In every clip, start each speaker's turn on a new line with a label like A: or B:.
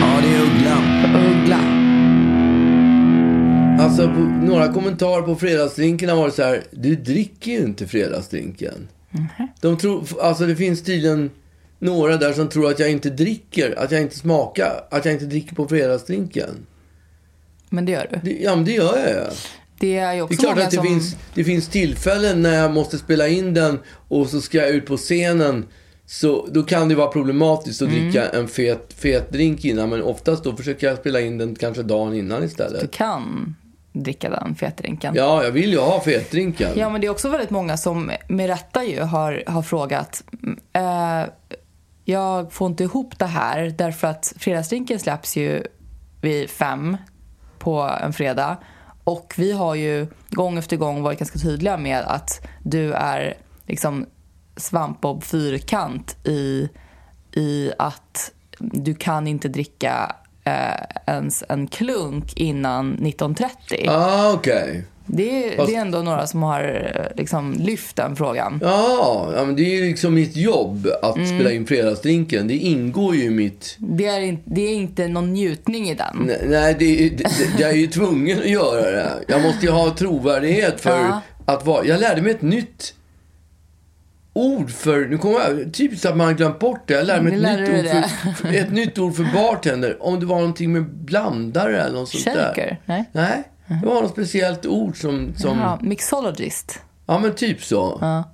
A: Ja, det är Uggla.
B: Uggla.
A: Alltså, på, några kommentarer på fredagsdrinken har varit så här. Du dricker ju inte fredagsdrinken. De tror, alltså det finns tydligen några där som tror att jag inte dricker, att jag inte smakar, att jag inte dricker på fredagsdrinken.
B: Men det gör du.
A: Det, ja, men det gör jag ju.
B: Det är ju
A: Det
B: också
A: är klart
B: många
A: att det,
B: som...
A: finns, det finns tillfällen när jag måste spela in den och så ska jag ut på scenen. Så då kan det vara problematiskt
B: Mm.
A: att dricka en fet, fet drink innan. Men oftast då försöker jag spela in den kanske dagen innan
B: Du
A: istället.
B: kan dricka den fetdrinken.
A: Ja, jag vill ju ha fetdrinken.
B: Ja, men det är också väldigt många som med rätta ju har, har frågat. mm, Eh, jag får inte ihop det här därför att fredagsdrinken släpps ju vid fem på en fredag. Och vi har ju gång efter gång varit ganska tydliga med att du är liksom svampbob fyrkant i, i att du kan inte dricka eh, ens en klunk innan 19.30.
A: Ah, okej.
B: Det är,
A: Fast-
B: det är ändå några som har eh, liksom, lyft den frågan.
A: Ja, ja, men det är ju liksom mitt jobb att
B: Mm.
A: spela in fredagsdrinken. Det ingår ju i mitt...
B: Det är, inte, det är inte någon njutning i den.
A: Nej, Nej, det, är- det, det, jag är ju tvungen att göra det. Jag måste ju ha trovärdighet för
B: Ja.
A: att vara... Jag lärde mig ett nytt ord för... Nu kommer jag... Typiskt att man har glömt bort det. Jag lärde mig ett,
B: Nu lärde
A: nytt
B: du
A: ord
B: dig
A: för, för- ett nytt ord för bartender. Om det var någonting med blandare eller något sånt där.
B: Shaker? Mm. Nej.
A: Nej, det var något speciellt ord som... som
B: Ja,
A: ja.
B: mixologist.
A: men typ så.
B: Ja.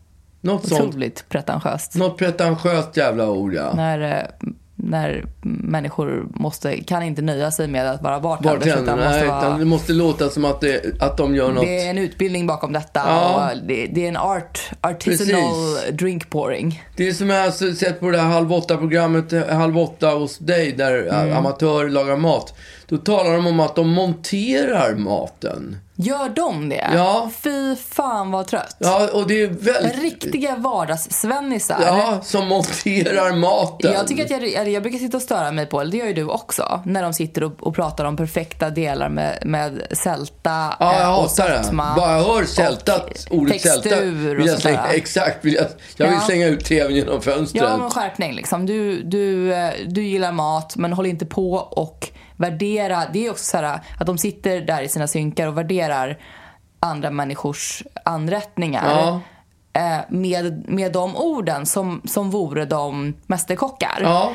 A: Något sånt.
B: Otroligt pretentiöst.
A: Något pretentiöst jävla ord, ja.
B: När, eh, när människor måste, kan inte nöja sig med att vara bartenders.
A: Bartender,
B: Utan
A: nej,
B: måste
A: utan det
B: vara,
A: måste låta som att, det, att de gör något.
B: det är en utbildning bakom detta.
A: Ja.
B: Och det, det är en art, artisanal
A: Precis.
B: drink pouring.
A: Det är som jag har sett på det här Halv åtta-programmet, eh, Halv åtta hos dig, där eh,
B: Mm.
A: amatörer lagar mat. Då talar de om att de monterar maten.
B: Gör de det?
A: Ja.
B: Fy fan vad trött.
A: Ja, och det är väldigt...
B: Riktiga vardagssvennisar.
A: Ja, som monterar maten.
B: Jag, tycker att jag, eller jag brukar sitta och störa mig på, eller det gör ju du också, när de sitter och, och pratar om perfekta delar med, med sälta
A: Ja,
B: eh,
A: jag
B: och
A: hatar det.
B: sötma
A: Bara jag hör sältat,
B: och
A: ordet
B: textur
A: sälta,
B: och
A: vill jag
B: sånt
A: slänga,
B: där.
A: exakt, vill jag, jag vill
B: Ja.
A: slänga ut tvn genom fönstret.
B: Ja, men skärpning liksom. Du, du, eh, du gillar mat, men håll inte på och värdera. Det är också så här eh, att de sitter där i sina synkar och värderar andra människors anrättningar.
A: Ja.
B: eh, Med, med de orden som, som vore de mästerkockar.
A: Ja.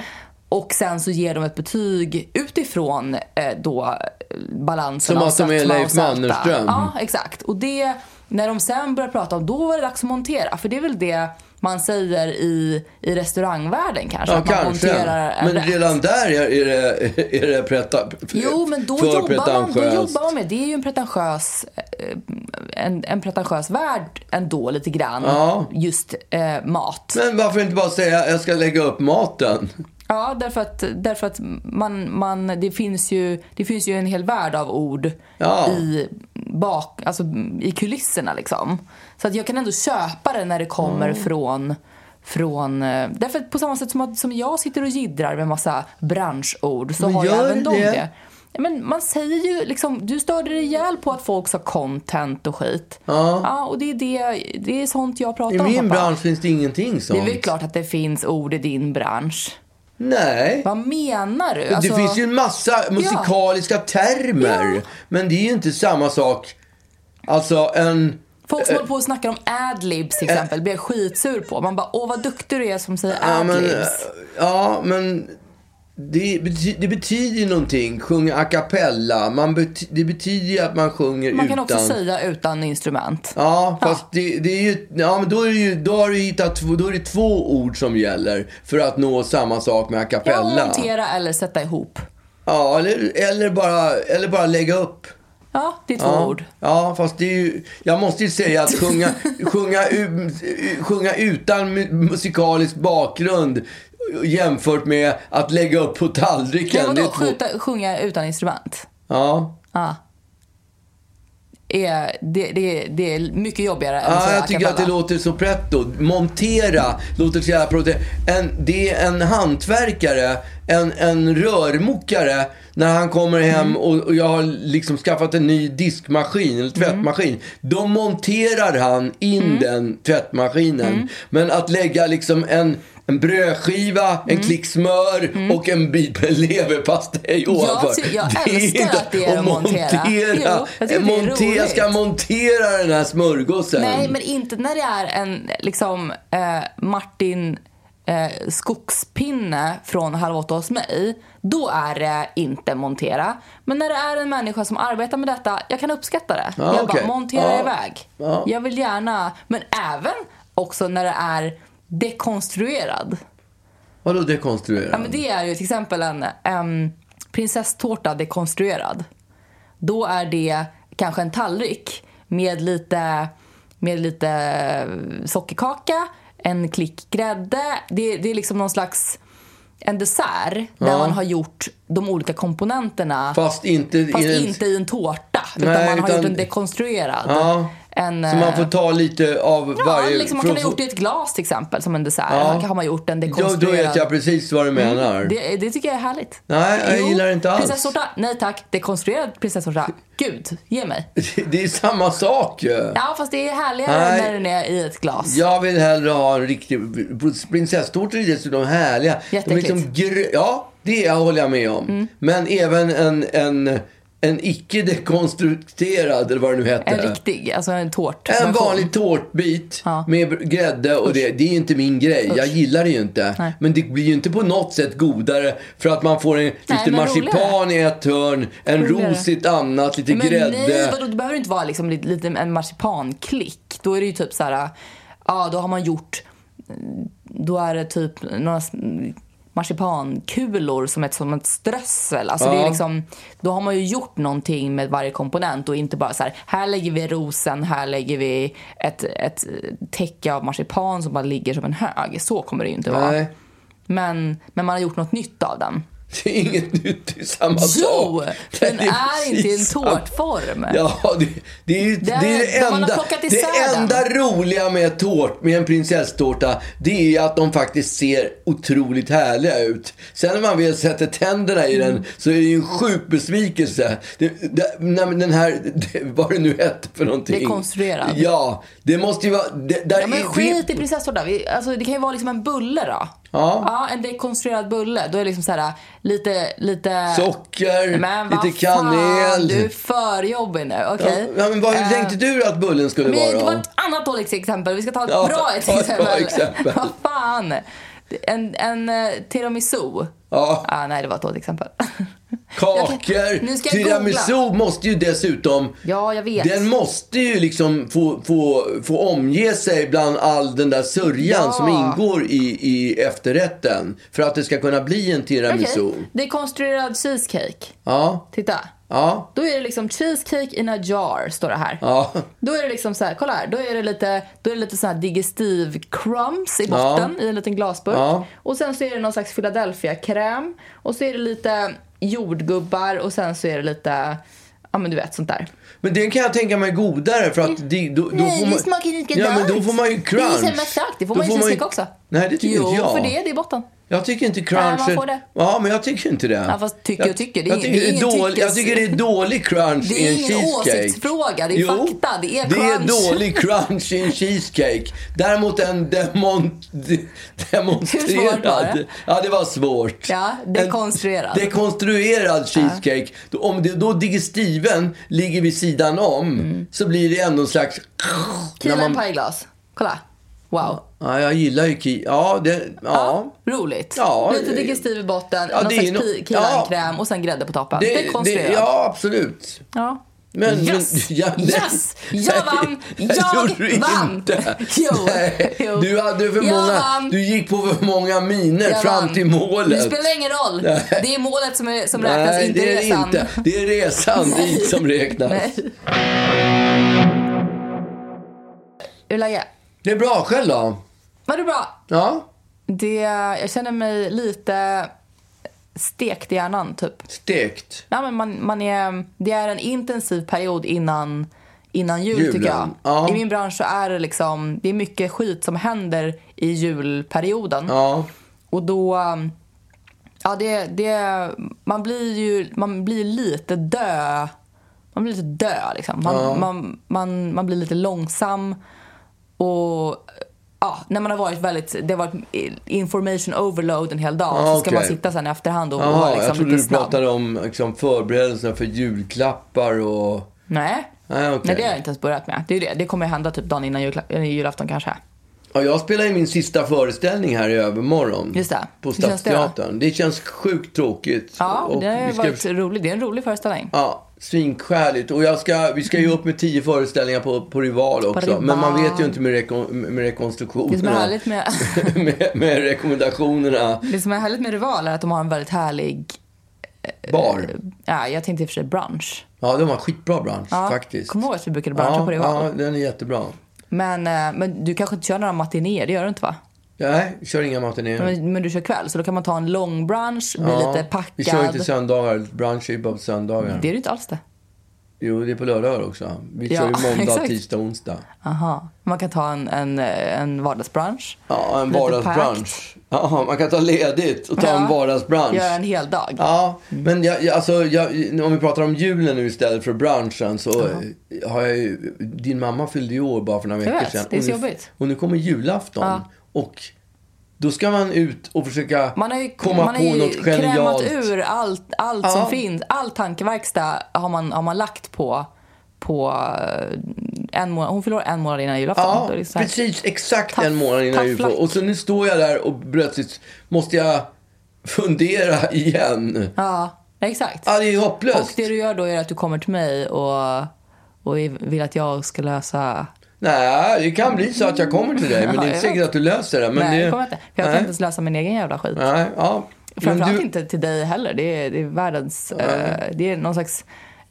B: Och sen så ger de ett betyg utifrån eh, då eh, balansen
A: Som
B: av
A: att de är
B: sötma och
A: Leif
B: sälta.
A: Mannerström.
B: Ja, exakt. Och det, när de sen börjar prata om, då var det dags att montera. För det är väl det man säger i, i restaurangvärlden kanske.
A: Ja,
B: att man
A: kanske.
B: monterar en
A: Men
B: rätt.
A: redan där är, är det, är det preta,
B: Jo, men då
A: för
B: jobbar, man, då
A: pretentiöst.
B: jobbar man med det. är ju en pretentiös, eh, en, en pretentiös värld ändå lite grann.
A: Ja.
B: Just eh, mat.
A: Men varför inte bara säga jag ska lägga upp maten?
B: Ja, därför att, därför att man, man, det, finns ju, det finns ju en hel värld av ord
A: Ja.
B: i, bak, alltså, i kulisserna. Liksom. Så att jag kan ändå köpa det när det kommer
A: Mm.
B: från... från eh, därför att på samma sätt som, att, som jag sitter och jiddrar med massa branschord så
A: Men
B: har ju
A: gör
B: även de
A: det.
B: det. Ja, Men man säger ju liksom, du störde dig ihjäl på att folk sa content och skit.
A: Ja.
B: och det är, det, det är sånt jag pratar
A: I
B: om
A: min
B: pappa.
A: bransch finns det ingenting
B: Det
A: sånt.
B: är väl klart att det finns ord i din bransch.
A: Nej.
B: Vad menar du?
A: Det
B: Alltså,
A: finns ju en massa musikaliska termer.
B: Ja.
A: Men det är ju inte samma sak. Alltså en...
B: Folk som håller på och snackar om adlibs
A: Eh.
B: till exempel blir jag skitsur på. Man bara, åh vad duktig du är som säger
A: Ja men, eh,
B: adlibs.
A: ja, men det, bety, det betyder ju någonting. Sjunga a cappella. Man bety, det betyder ju att man sjunger
B: Man
A: utan...
B: kan också säga utan instrument.
A: Ja, fast Det, det är ju... Ja, men då, är det ju då, har du hittat, två- då är det två ord som gäller för att nå samma sak med a
B: Ja,
A: cappella.
B: montera eller sätta ihop.
A: Ja, eller, eller, bara, eller bara lägga upp.
B: Ja, det är två
A: Ja.
B: ord.
A: Ja, fast det är ju, jag måste ju säga att sjunga, sjunga, u- sjunga utan mu- musikalisk bakgrund jämfört med att lägga upp på
B: Men
A: tallriken. det
B: vadå,
A: är två,
B: skjuta, sjunga utan instrument?
A: ja.
B: Ja. Är, det, det, det är mycket jobbigare än
A: Ja,
B: säga
A: jag
B: a
A: tycker att det
B: cappella.
A: låter så pretto. Montera låter så jävla pretto. En, det är en hantverkare, en, en rörmokare, när han kommer
B: Mm.
A: hem och, och jag har liksom skaffat en ny diskmaskin
B: Mm.
A: eller tvättmaskin. Då monterar han in den tvättmaskinen.
B: Mm.
A: Men att lägga liksom en en brödskiva,
B: Mm.
A: en klick smör och en bit leverpastej ovanför.
B: ty- Mm. jag
A: Det är
B: älskar
A: inte
B: att det är att montera. Jo, jag tycker det är
A: montera ska
B: roligt.
A: montera den här smörgåsen.
B: Nej, men inte när det är en liksom eh, Martin eh, Skogspinne från Halv åtta hos mig. Då är det inte montera. Men när det är en människa som arbetar med detta, jag kan uppskatta det.
A: Ja,
B: jag
A: okej.
B: bara, montera
A: Ja.
B: iväg.
A: Ja.
B: Jag vill gärna, men även också när det är dekonstruerad.
A: Vadå dekonstruera?
B: Ja, men det är ju till exempel en, en prinsesstårta dekonstruerad. Då är det kanske en tallrik med lite, med lite eh, sockerkaka, en klick grädde. Det, det är liksom någon slags en dessert där
A: Ja.
B: man har gjort de olika komponenterna fast,
A: Fast inte... i en-
B: inte i en tårta. Utan
A: Nej,
B: man har
A: utan-
B: gjort en dekonstruerad.
A: Ja.
B: En,
A: Så man får
B: eh,
A: ta lite av
B: ja,
A: varje...
B: liksom, man
A: för
B: kan
A: att få-
B: ha gjort det i ett glas till exempel som en dessert.
A: Ja.
B: Man kan, har man gjort en
A: Då,
B: dekonstruerad
A: då vet jag precis vad du menar.
B: Mm, det, det tycker jag är härligt.
A: Nej, jag gillar det inte alls.
B: Prinsesstårta? Nej tack. Dekonstruerad prinsesstårta? Gud, ge mig.
A: Det är samma sak ju.
B: Ja, fast det är härligare
A: Nej.
B: när den är i ett glas.
A: Jag vill hellre ha en riktig... Prinsesstårtor är dessutom härliga. De är
B: Jätteäckligt. Mm.
A: liksom gr... Ja, det håller jag med om. Men även en, en, en icke dekonstrukterad, eller vad det nu heter.
B: En riktig, alltså en tårt.
A: En vanlig tårtbit
B: Ja.
A: med grädde och det, det är inte min grej. Jag gillar det ju inte.
B: Nej.
A: Men det blir ju inte på något sätt godare för att man får en, lite
B: men
A: marsipan i ett hörn, en
B: Roligare.
A: ros i ett annat, lite
B: Men
A: grädde.
B: nej, vadå, det behöver inte vara liksom lite, lite en marsipanklick. Då är det ju typ så här, ja då har man gjort, då är det typ några s- marsipankulor som ett, som ett strössel. Alltså det
A: Ja.
B: är liksom, då har man ju gjort någonting med varje komponent och inte bara så här, här lägger vi rosen, här lägger vi ett, ett täcke av marsipan som bara ligger som en hög. Så kommer det ju inte vara.
A: Nej,
B: Men, men man har gjort något nytt av den.
A: det är inget nytt. Det är samma
B: Jo!
A: sak. Alltså, Det
B: Den är inte i en
A: precis samma-
B: tårtform.
A: Ja, det, det är ju det, är det
B: de har
A: enda,
B: plockat isär
A: det
B: den.
A: enda roliga med, tårt, med en prinsesstårta, det är att de faktiskt ser otroligt härliga ut. Sen när man väl sätter tänderna i
B: Mm.
A: den så är det ju en sjuk besvikelse. Det, det, nej, men den här, det, vad det nu hette för någonting.
B: Dekonstruerad.
A: Ja, det måste ju vara... Det, där
B: Ja, men
A: är-
B: skit i prinsesstårta. Vi- Alltså, det kan ju vara liksom en bulle då.
A: Ja.
B: en dekonstruerad bulle. Då är det liksom så här lite... lite...
A: Socker,
B: Men vad
A: lite
B: Fan,
A: kanel.
B: du är för jobbig nu. Okej.
A: ja, men vad
B: Eh,
A: tänkte du att bullen skulle
B: Men
A: vara?
B: det var ett annat dåligt exempel. Vi ska ta ett
A: Ja,
B: bra
A: ta ett
B: exempel.
A: bra exempel.
B: vad fan. En, en eh, tiramisu.
A: Ja.
B: Ah, nej, det var ett dåligt exempel. Jag
A: Kakor,
B: kan- nu ska jag
A: tiramisu måste ju dessutom...
B: Ja, jag vet.
A: Den måste ju liksom få, få, få omge sig bland all den där sörjan
B: Ja.
A: som ingår i, i efterrätten. För att det ska kunna bli en tiramisu.
B: Okej. Dekonstruerad cheesecake.
A: Ja,
B: Titta.
A: ja,
B: Då är det liksom cheesecake in a jar, står det här.
A: ja.
B: Då är det liksom så här, kolla här, då är det lite, då är det lite så här digestive crumbs i botten i en liten glasburk.
A: Ja.
B: Och sen så är det någon slags Philadelphia-kräm och så är det lite jordgubbar och sen så är det lite, ja men du vet sånt där.
A: Men den kan jag tänka mig godare för att det, då, då
B: Mm. Nej,
A: får
B: det
A: man...
B: smakar inte
A: Ja, men då får man ju crunch.
B: Det är ju samma sak, det får
A: Då
B: man ju
A: får
B: i
A: man ju-
B: cheesecake också.
A: Nej, det tycker
B: jo,
A: inte jag.
B: för det är det i botten.
A: Jag tycker inte crunch...
B: Nej, man får det.
A: Ja, men jag tycker inte det.
B: Ja, fast tycker
A: Jag-
B: och tycker, det är
A: jag
B: ing-
A: tycker
B: det
A: det
B: är
A: är
B: ingen
A: dålig, Jag
B: tyckes-
A: tycker det är dålig crunch
B: Det är
A: i en
B: ingen
A: cheesecake.
B: åsiktsfråga, det är fakta, det är crunch.
A: Det är dålig crunch i en cheesecake. Däremot en demon, de- demonstrerad...
B: Hur svårt var det?
A: Ja, det var svårt.
B: Ja, dekonstruerad.
A: En dekonstruerad cheesecake. Då- Om det, då digestiven ligger vid sidan om
B: Mm.
A: så blir det ändå en slags... när
B: Kila
A: man-
B: en pajglas. Kolla. Wow.
A: Ja, jag gillar ju ki... Ja, det... ja.
B: Roligt.
A: Ja,
B: Lite
A: det-
B: digestiv i botten,
A: Ja,
B: någon
A: det är
B: slags
A: nog-
B: pi-
A: ja.
B: kilankräm och sen grädde på toppen.
A: Det-
B: Det är konstruerat.
A: det- Ja, absolut.
B: Ja.
A: Men-
B: yes!
A: men- ja, nej.
B: yes! Jag vann!
A: Nej, det
B: Jag
A: gjorde du
B: vann!
A: inte.
B: Jo.
A: Nej,
B: jo.
A: Du hade för
B: jag
A: många,
B: Vann.
A: du gick på för många miner
B: jag
A: fram
B: vann.
A: till
B: Det
A: målet.
B: spelar ingen roll.
A: Nej.
B: Det är målet som, är, som räknas,
A: Nej,
B: inte
A: det är det
B: resan.
A: inte. Det är resan dit som räknas.
B: Nej. Hur är läget?
A: Det är bra, själv då?
B: Var det bra?
A: Ja,
B: Det, jag känner mig lite stekt i hjärnan, typ.
A: stekt.
B: Nej, men man, man är, det är en intensiv period innan, innan jul,
A: Julen,
B: tycker jag.
A: ja.
B: I min bransch så är det, liksom, det är mycket skit som händer i julperioden.
A: Ja,
B: Och då... Ja, det, det, man blir ju man blir lite dö. Man blir lite dö, liksom. Man, man, man, man blir lite långsam. Och ja, när man har varit väldigt... Det har varit information overload en hel dag.
A: Ja,
B: så ska man
A: okej.
B: sitta sen i efterhand och
A: Jaha,
B: vara liksom,
A: jag trodde
B: lite
A: du
B: snabb.
A: pratade om liksom, förberedelserna för julklappar och...
B: Nej.
A: Nej, okej.
B: Nej, det har jag inte ens börjat med. Det är ju det. Det kommer hända typ dagen innan julkla- eller julafton kanske.
A: Ja, jag spelar ju min sista föreställning här i övermorgon.
B: Just det.
A: På
B: Hur känns det då?
A: Stadsteatern. Det känns sjukt tråkigt.
B: Ja,
A: Och
B: det har
A: vi
B: ju
A: ska-
B: varit roligt. Det är en rolig föreställning.
A: Ja, svinskärligt. Och jag ska, vi ska ju upp med tio föreställningar på, på Rival också.
B: Rival.
A: Men man vet ju inte med, reko, med rekonstruktionerna.
B: Det som är härligt med-
A: med, med rekommendationerna.
B: Det som är härligt med Rival är att de har en väldigt härlig, eh,
A: Bar.
B: ja, jag tänkte i och för sig brunch.
A: Ja, de har skitbra bransch
B: Ja,
A: faktiskt.
B: Kommer ihåg att vi brukade bruncha
A: ja,
B: på Rival?
A: ja, den är jättebra.
B: Men, eh, men du kanske inte kör några matinéer, det gör du inte va?
A: Nej, kör inga matinéer.
B: Men, men du kör kväll, så då kan man ta en lång brunch, bli
A: Ja,
B: lite
A: Vi kör
B: packad.
A: inte söndagar. Bransch är ju bara på söndagar.
B: Det är det inte alls det.
A: Jo, det är på lördagar också. Vi
B: Ja,
A: kör ju måndag,
B: exakt.
A: tisdag, onsdag.
B: Aha. Man kan ta en, en, eh, en vardagsbrunch.
A: Ja, en
B: Lite
A: vardagsbransch. Ja, man kan ta ledigt och ta en
B: Ja.
A: vardagsbransch.
B: Göra en hel dag.
A: Ja, men jag, jag, alltså, jag, om vi pratar om julen nu istället för branschen så eh, har jag ju, din mamma fyllde ju år bara för några veckor
B: vet,
A: sedan.
B: det är
A: Och
B: så
A: nu-
B: jobbigt.
A: Och nu kommer julafton och då ska man ut och försöka
B: Man har ju,
A: komma
B: man
A: på
B: har ju
A: något
B: krämat
A: genialt.
B: ur allt, allt
A: Ja.
B: som finns. All tankeverkstad har man, har man lagt på, på eh, en månad. Hon förlorar en månad innan julafton.
A: Ja,
B: Då är det så här-
A: precis exakt
B: Taff-
A: en månad innan
B: tafflack.
A: UFO. Och så nu står jag där och plötsligt måste jag fundera igen.
B: Ja, exakt.
A: Ja, det är hopplöst.
B: Och det du gör då är att du kommer till mig och, och vill att jag ska lösa...
A: Nej, det kan bli så att jag kommer till dig. Men
B: Ja,
A: det är
B: jag
A: inte säkert
B: vet.
A: att du löser det. Men
B: Nej,
A: det...
B: det kommer jag inte. För jag kan
A: Nej.
B: inte ens lösa min egen jävla skit.
A: Nej, ja. Men
B: Framförallt
A: du-
B: inte till dig heller. Det är, det är världens... eh, det är någon slags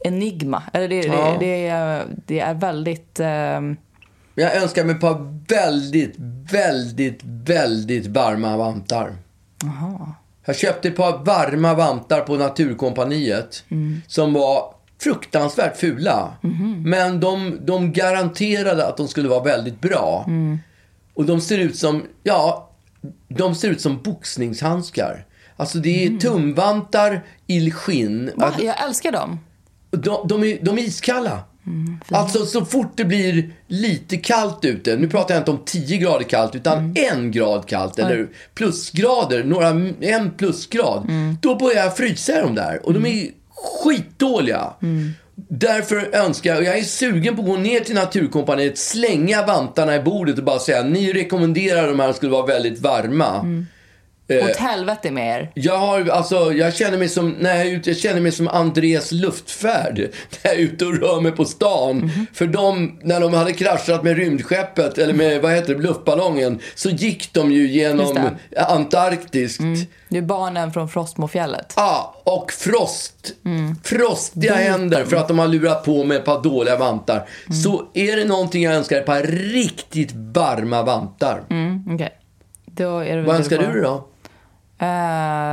B: enigma. Eller det,
A: Ja.
B: det, det, är, det är väldigt... ehm,
A: Men Jag önskar mig ett par väldigt, väldigt, väldigt varma vantar. Jag köpte ett par varma vantar på Naturkompaniet som var fruktansvärt fula. Men de, de garanterade att de skulle vara väldigt bra. Och de ser ut som, ja, de ser ut som boxningshandskar. Alltså det är tumvantar i skinn.
B: va?
A: Att-
B: jag älskar dem.
A: de, de, är, de är iskalla. alltså så fort det blir lite kallt ute, nu pratar jag inte om 10 grader kallt utan en grad kallt eller plusgrader, några, en plusgrad. Då börjar jag frysa i de där och de är skitdåliga. Därför önskar jag, och jag är sugen på att gå ner till Naturkompaniet, slänga vantarna i bordet och bara säga ni rekommenderar de här skulle vara väldigt varma. Eh,
B: Åt helvete med er.
A: Jag, har, alltså, jag, känner mig som, när jag, är ute, jag känner mig som Andrés luftfärd när jag är ute och rör mig på stan.
B: Mhm.
A: För de, när de hade kraschat med rymdskeppet, eller med vad heter det, luftballongen, så gick de ju genom
B: Just Mm.
A: Antarktis.
B: Du är barnen från Frostmofjället.
A: Ah, och frost.
B: Mm.
A: Frostiga händer för att de har lurat på med ett par dåliga vantar.
B: Mm.
A: Så är det någonting jag önskar, ett par riktigt varma vantar.
B: Mm, Okej. Då är det väl
A: Vad
B: det
A: önskar
B: får.
A: du då? Mm.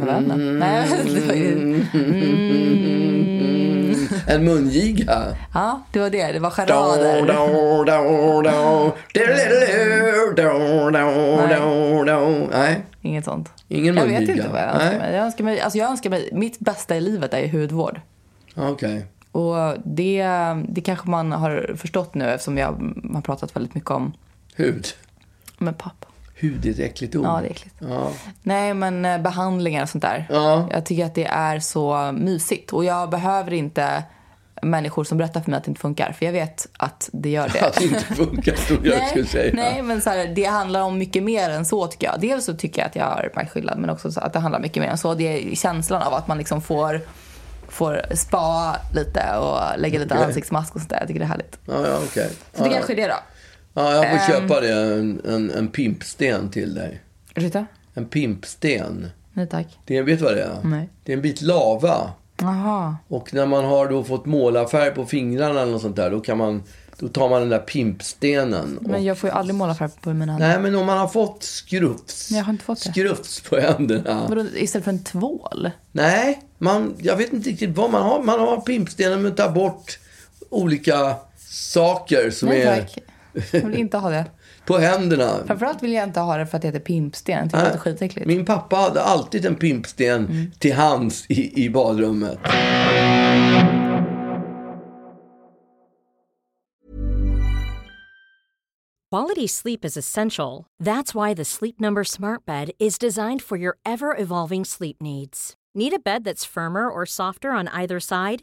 B: Ehm... Vad var den? Nej, jag vet inte.
A: Mm. En mungiga.
B: Ja, det var det. Det var
A: Da, da,
B: charader.
A: da, da, da. Diddle-diddle-do, da, da, da, da. Nej,
B: Inget sånt.
A: Ingen
B: jag vet
A: mungiga.
B: inte vad jag önskar
A: Nej.
B: mig. Jag önskar mig, alltså jag önskar mig. Mitt bästa i livet är ju hudvård.
A: okej.
B: Och det, det kanske man har förstått nu eftersom jag man har pratat väldigt mycket om
A: Hud.
B: med pappa.
A: Hud är ett äckligt ord.
B: Ja, det är äckligt.
A: Ja.
B: Nej, men eh, behandlingar och sånt där.
A: Ja.
B: Jag tycker att det är så mysigt. Och jag behöver inte människor som berättar för mig att det inte funkar. För jag vet att det gör det.
A: Att det inte funkar trodde jag skulle
B: nej,
A: säga.
B: nej, men så här, det handlar om mycket mer än så tycker jag. Dels så tycker jag att jag har märkt skillnad, men också så att det handlar mycket mer än så. Det är känslan av att man liksom får, får spa lite och lägga lite
A: Okej.
B: ansiktsmask och sånt där. Jag tycker det är härligt.
A: Ja, ja, okej.
B: Så det
A: Ja,
B: kanske är det då.
A: ja, jag får
B: Ehm.
A: köpa det. En, en, en pimpsten till dig.
B: Ursäkta?
A: En pimpsten.
B: Nej tack.
A: Det är, vet du vad det är?
B: Nej.
A: Det är en bit lava.
B: Jaha.
A: Och när man har då fått målarfärg på fingrarna eller något sånt där, då kan man... Då tar man den där pimpstenen. Och,
B: Men jag får ju aldrig måla färg på mina händer.
A: Nej, men om man har fått skrufs.
B: Jag har inte fått det.
A: Skrufs på händerna.
B: Vadå, istället för en tvål?
A: Nej, man, jag vet inte riktigt vad man har. Man har pimpstenen men tar bort olika saker som
B: Nej
A: är
B: tack. Jag vill inte ha det.
A: på händerna.
B: Framförallt vill jag inte ha det för att det heter pimpsten. Jag tycker det låter skitäckligt. Mm.
A: Min pappa hade alltid en pimpsten till hands i, i badrummet.
C: Quality sleep is essential. That's why the Sleep Number Smart Bed is designed for your ever evolving sleep needs. Need a bed that's firmer or softer on either side?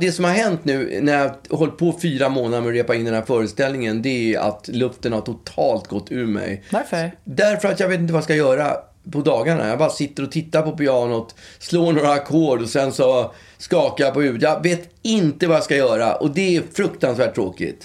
A: Det som har hänt nu när jag har hållit på fyra månader med att repa in den här föreställningen det är att luften har totalt gått ur mig.
B: Varför?
A: Därför att jag vet inte vad jag ska göra på dagarna. Jag bara sitter och tittar på pianot, slår några ackord och sen så skakar jag på huvudet. Jag vet inte vad jag ska göra och det är fruktansvärt tråkigt.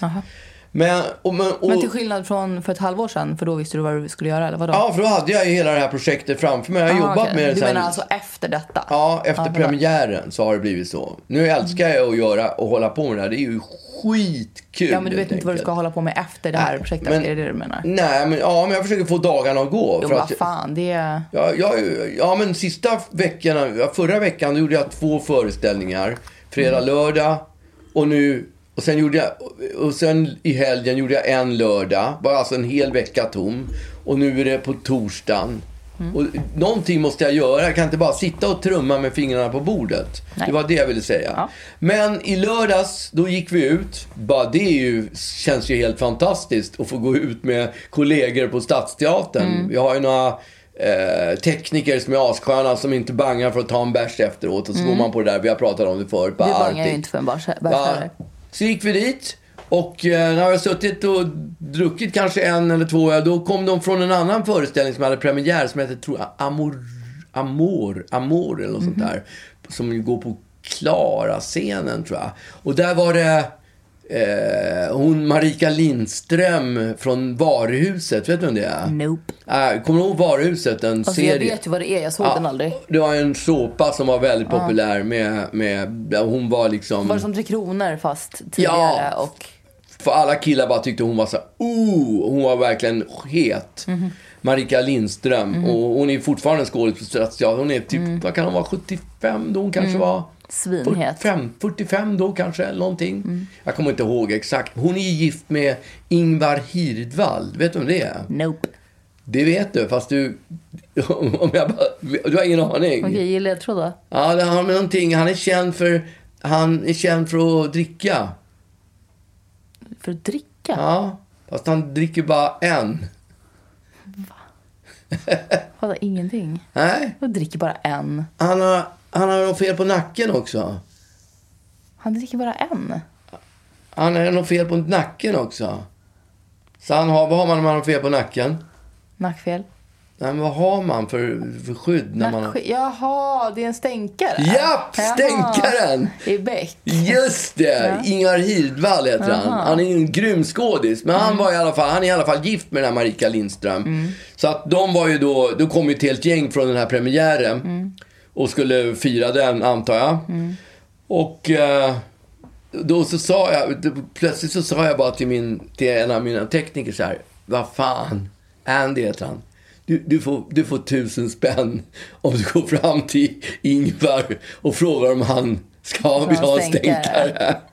A: Men, och, men, och,
B: Men till skillnad från för ett halvår sedan, för då visste du vad du skulle göra eller vadå?
A: Ja, för då hade jag ju hela det här projektet framför mig. Jag har
B: Ah,
A: jobbat
B: okej.
A: med det
B: Du
A: sen.
B: menar alltså efter detta?
A: Ja, efter
B: förlåt.
A: premiären så har det blivit så. Nu älskar jag att göra och hålla på med det här. Det är ju skitkul.
B: Ja, men du vet
A: helt
B: inte vad du
A: enkelt.
B: ska hålla på med efter det här
A: Nej,
B: projektet?
A: men-
B: Är det det du menar?
A: Nej, men, ja, men jag försöker få dagarna att gå.
B: Jo,
A: för
B: vad
A: att-
B: fan. Det är...
A: Ja, ja, ja, men sista veckorna, ja, förra veckan då gjorde jag två föreställningar. Fredag,
B: Mm.
A: lördag och nu... Och sen, gjorde jag, och sen i helgen gjorde jag en lördag. Bara alltså en hel vecka tom. Och nu är det på torsdagen.
B: Mm.
A: Och någonting måste jag göra. Jag kan inte bara sitta och trumma med fingrarna på bordet.
B: Nej.
A: Det var det jag ville säga.
B: Ja.
A: Men i lördags, då gick vi ut. Bara det är ju, känns ju helt fantastiskt att få gå ut med kollegor på Stadsteatern.
B: Mm.
A: Vi har ju några eh, tekniker som är assköna som inte bangar för att ta en bärs efteråt. Och så går man på det där, vi har pratat om det förut.
B: Mm. Du
A: Bara
B: bangar ju
A: allting.
B: inte för en bärs-
A: Ja.
B: bärslärare.
A: Så gick vi dit och eh, när jag hade suttit och druckit kanske en eller två öl, då kom de från en annan föreställning som hade premiär som hette tror jag, Amor, Amor, Amor eller något sånt
B: Mhm.
A: där. Som ju går på Klara-scenen tror jag. Och där var det eh, hon Marika Lindström från Varuhuset. Vet du vem det är?
B: Nope.
A: Äh, kommer du ihåg Varuhuset? En
B: Alltså, jag
A: serie.
B: vet ju vad det är. Jag såg den aldrig.
A: Det var en såpa som var väldigt populär med, med, hon var liksom...
B: Var det som Tre Kronor fast tidigare?
A: Ja.
B: Och...
A: För alla killar bara tyckte hon var så här, oh, hon var verkligen het.
B: Mhm.
A: Marika Lindström. Och hon är fortfarande en skådis på Stadsteatern. Hon är typ, vad kan hon vara, 75 då hon kanske var?
B: Mm. Svinhet.
A: 45,
B: Mm.
A: 45 då kanske, eller någonting. Jag kommer inte ihåg exakt. Hon är gift med Ingvar Hirdvall. Vet du vem det är?
B: Nope.
A: Det vet du, fast du Om jag bara, du har ingen aning?
B: Okej, ge ledtråd då.
A: Ja, det har med någonting. Han är känd för, han är känd för att dricka.
B: För att dricka?
A: Ja, fast han dricker bara en.
B: Vadå, ingenting?
A: Nej,
B: Jag dricker bara en.
A: han har, han har något fel på nacken också.
B: Han dricker bara en.
A: Han har något fel på nacken också. Så han har, vad har man om man har fel på nacken?
B: Nackfel.
A: Nej, men vad har man för, för skydd när man har...
B: Nackske- Jaha, det är en stänkare?
A: Japp,
B: Jaha.
A: stänkaren!
B: I bäck.
A: Just det! Ingar Hildvall heter han. Han är ju en grym skådis. Men han, var i alla fall, han är i alla fall gift med den här Marika Lindström. Så att de var ju då, då kom ju ett helt gäng från den här premiären. Och skulle fira den, antar jag. Och eh, då så sa jag, då, plötsligt så sa jag bara till, min, till en av mina tekniker så här. Vad fan, Andy heter han. Du, du, får, du får tusen spänn om du går fram till Ingvar och frågar om han ska vill ha en
B: stänkare.
A: stänkare.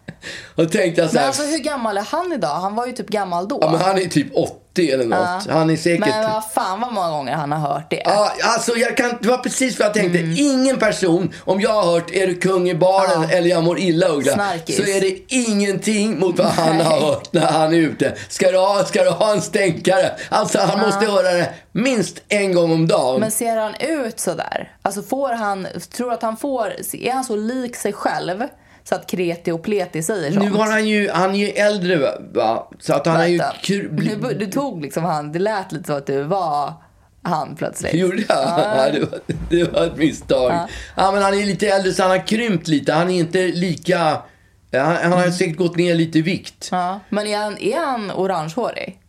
A: Och tänkte jag så
B: Men
A: här.
B: alltså hur gammal är han idag? Han var ju typ gammal då.
A: ja, men han är typ 80 eller något. Han är säkert... typ-
B: Men vad fan vad många gånger han har hört det.
A: Ja, alltså jag kan, det var precis vad jag tänkte.
B: Mm.
A: Ingen person, om jag har hört är du kung i baren eller jag mår illa Uggla,
B: Snarkis.
A: så är det ingenting mot vad han har hört när han är ute. Ska du ha, ska du ha en stänkare? Alltså han måste höra det minst en gång om dagen.
B: Men ser han ut sådär? Alltså får han, tror att han får, är han så lik sig själv så att kreti och pleti säger sånt?
A: nu har han ju, han är ju äldre va? va? Så att han har ju...
B: Vänta.
A: kul-
B: Nu bu- du tog liksom han, det lät lite som att du var han plötsligt.
A: Gjorde jag? Ja, det, var, det var ett misstag. Ja. men han är lite äldre så han har krympt lite. Han är inte lika... Han, han
B: Mm.
A: har säkert gått ner lite i vikt.
B: Ja. Men är han, är han orangehårig?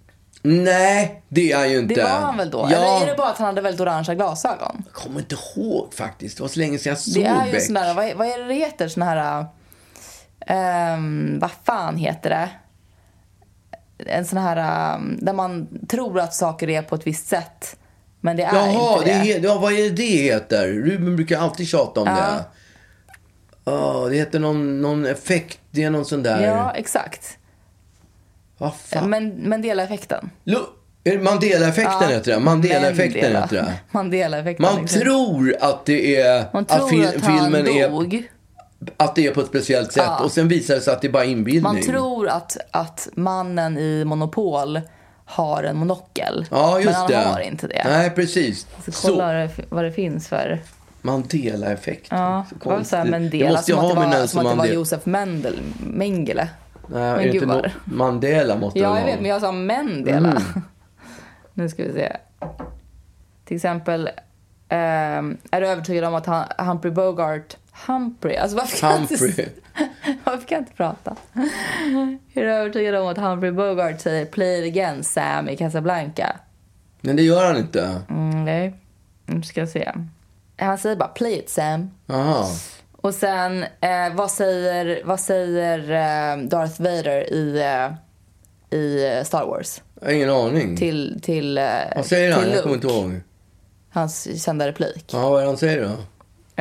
A: Nej, det är han ju inte.
B: Det var han väl då?
A: Ja,
B: Eller är det bara att han hade väldigt orangea glasögon?
A: Jag kommer inte ihåg faktiskt. Det var så länge sedan jag såg
B: Det är ju
A: Beck.
B: sån där, vad, vad är det det heter? Sån här... ehm, vad fan heter det? En sån här ehm, där man tror att saker är på ett visst sätt. Men det är
A: Jaha,
B: inte
A: det
B: det.
A: he- ja, vad är det det heter? Ruben brukar alltid tjata om det. Ja, det heter någon, någon effekt. Det är någon sån där...
B: Ja, exakt.
A: Vad fan?
B: Men, men delaeffekten.
A: Lu- är det Mandela-effekten heter det. Mandela-effekten
B: Mandela.
A: heter det.
B: Mandela-effekten.
A: Man
B: exakt.
A: tror att det är...
B: man tror att,
A: fil-
B: han
A: filmen är,
B: dog.
A: att det är på ett speciellt sätt. Och sen visar det sig att det är bara inbildning.
B: Man tror att, att mannen i Monopol har en monokel.
A: Ja, just
B: men han
A: det.
B: har inte det.
A: Nej, precis.
B: Så kolla vad det- vad det finns för...
A: Mandela-effekten.
B: Ja,
A: Så
B: det var så här
A: konstigt.
B: Mandela,
A: Det måste jag
B: som,
A: ha
B: att
A: med
B: det var,
A: den
B: som
A: som
B: att det var
A: Mandela.
B: Josef Mendel, Mengele.
A: Nej, är
B: men
A: det
B: gud
A: inte
B: vad
A: no-
B: det-
A: Mandela måste det
B: Ja, jag
A: vara.
B: vet, men jag sa Mendela.
A: Mm.
B: nu ska vi se. Till exempel, ehm, är du övertygad om att han, Humphrey Bogart... Humphrey? Alltså varför kan, jag
A: Humphrey.
B: Inte, varför kan jag inte prata? är du övertygad om att Humphrey Bogart säger “Play it again, Sam” i Casablanca?
A: Men det gör han inte.
B: Mm, nej. Nu ska jag se. Han säger bara “Play it, Sam”.
A: Aha.
B: Och sen, eh, vad säger, vad säger eh, Darth Vader i, eh, i Star Wars?
A: Jag har ingen aning.
B: Till, till, eh,
A: Vad säger
B: till
A: han? Jag kommer
B: Luke,
A: inte ihåg.
B: Hans kända replik.
A: Ja, vad är det han säger då?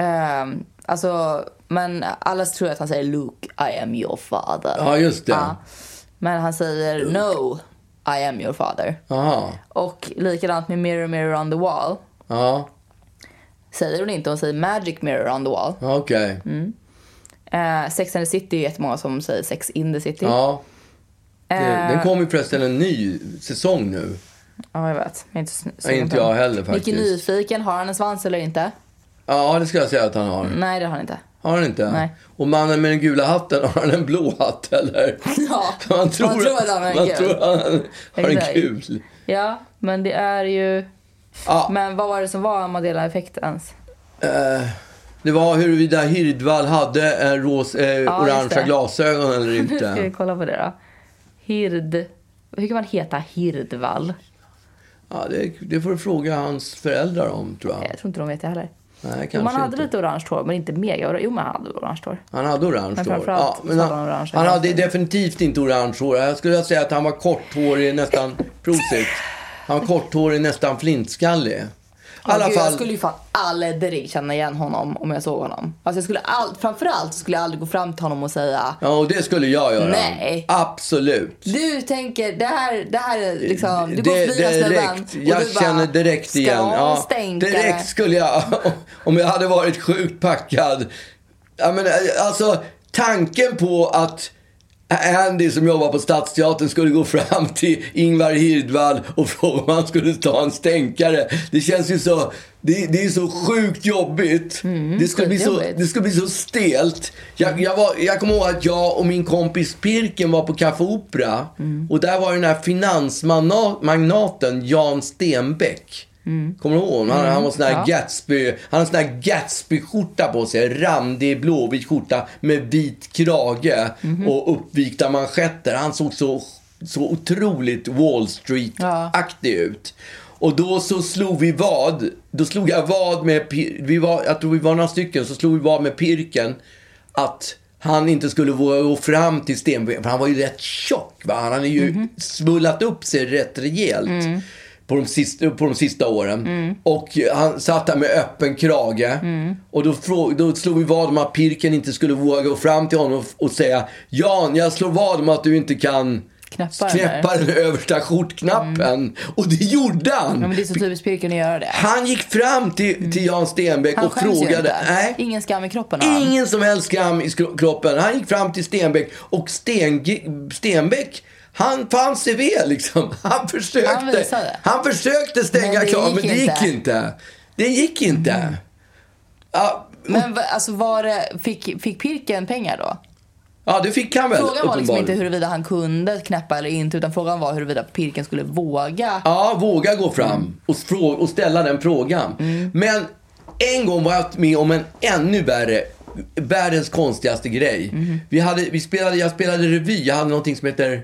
B: Eh, alltså, men alla tror att han säger Luke, I am your father.
A: Ja, just det.
B: Ja. Men han säger No, I am your father.
A: Aha.
B: Och likadant med Mirror, mirror on the wall.
A: Ja,
B: Säger hon inte, hon säger Magic mirror on the wall.
A: ja, okej.
B: Mm. Eh, sex and the city är jättemånga som säger Sex in the city.
A: Ja.
B: Eh.
A: Det, den kommer ju förresten en ny säsong nu.
B: Ja, jag vet. Jag är inte så
A: Ja, inte jag heller faktiskt.
B: Mycket nyfiken. Har han en svans eller inte?
A: Ja, det ska jag säga att han har.
B: Nej, det har han inte.
A: Har han inte?
B: Nej.
A: Och mannen med den gula hatten, har han en blå hatt eller?
B: Ja,
A: Man tror,
B: att han har en
A: man
B: gul.
A: tror att han har en
B: Exakt.
A: gul.
B: Ja, men det är ju...
A: Ja.
B: Men vad var det som var Amadela-effekten ens?
A: Eh, Det var huruvida Hirdvall hade en ros, eh,
B: just
A: orangea
B: det.
A: glasögon eller
B: Ska vi
A: inte.
B: kolla på det då? Hird... Hur kan man heta Hirdvall?
A: Ja, det, det får du fråga hans föräldrar om, tror jag.
B: Jag tror inte de vet det heller.
A: Nej, kanske
B: Jo, man hade
A: inte.
B: lite orange hår, men inte mega. Jo, men han hade orange hår.
A: Han hade orange
B: Men
A: hår.
B: framförallt så hade han orange
A: han hade
B: glasögon.
A: definitivt inte orange hår. Jag skulle säga att han var korthårig, nästan... Prosit. Han var korthårig, nästan flintskallig. I alla
B: Gud, Jag
A: fall,
B: skulle ju fan aldrig känna igen honom om jag såg honom. Alltså jag skulle all... framförallt skulle jag aldrig gå fram till honom och säga
A: ja och det skulle jag göra.
B: Nej.
A: Absolut.
B: du tänker, det här, det här är liksom, du går
A: Det-
B: förbi den här snubben
A: direkt,
B: och
A: jag
B: du bara,
A: känner direkt
B: ska
A: igen.
B: hon
A: Ja,
B: stänka?
A: direkt skulle jag, om jag hade varit sjukt packad. Ja, men, alltså, tanken på att Andy som jobbar på Stadsteatern skulle gå fram till Ingvar Hirdwall och fråga om han skulle ta en stänkare. Det känns ju så, det, det är så sjukt jobbigt.
B: Mm,
A: det, skulle bli så,
B: skitjobbigt.
A: det skulle bli så stelt. Jag, jag, var, jag kommer ihåg att jag och min kompis Pirken var på Café Opera. Och där var den här finansmagnaten Jan Stenbeck. Kommer du ihåg honom? Han, han var sån här Gatsby, han hade sån här Gatsby-skjorta på sig. Randig blåvit skjorta med vit krage och uppvikta manschetter. Han såg så, så otroligt Wall Street-aktig ut. Och då så slog vi vad. Då slog jag vad med, Pir- vi var, jag tror vi var några stycken, så slog vi vad med Pirken att han inte skulle våga gå fram till Stenbeck. För han var ju rätt tjock. Va? Han hade ju
B: Mhm.
A: svullat upp sig rätt rejält.
B: Mm.
A: På de, sista, på de sista åren. Och han satt där med öppen krage.
B: Mm.
A: Och då, frå, då slog vi vad om att Pirken inte skulle våga gå fram till honom och, och säga Jan, jag slår vad om att du inte kan
B: Knäppa den där."
A: knäppa den översta skjortknappen. Och det gjorde han.
B: Mm. Ja, men det är så typiskt Pirken att göra det.
A: Han gick fram till, till Jan Stenbeck
B: Han
A: och
B: skäms ju
A: frågade.
B: inte.
A: Nej,
B: Ingen skam i kroppen har han.
A: ingen som helst skam i skro- kroppen. Han gick fram till Stenbeck och Sten, Stenbeck han fann sig väl liksom. Han försökte,
B: Han visade.
A: han försökte
B: Men
A: stänga
B: det
A: kraven men
B: gick
A: det gick
B: inte. Mm.
A: inte. Det gick inte. Ja,
B: Men va- alltså var det, fick, fick Pirken pengar då?
A: ja, det fick han väl
B: Frågan var liksom
A: uppenbarligen.
B: inte huruvida han kunde knäppa eller inte utan frågan var huruvida Pirken skulle våga.
A: Ja, våga gå fram och, frå- och ställa den frågan.
B: Mm.
A: Men en gång var jag med om en ännu värre, världens konstigaste grej.
B: Mm.
A: Vi hade, vi spelade, jag spelade revy, jag hade någonting som heter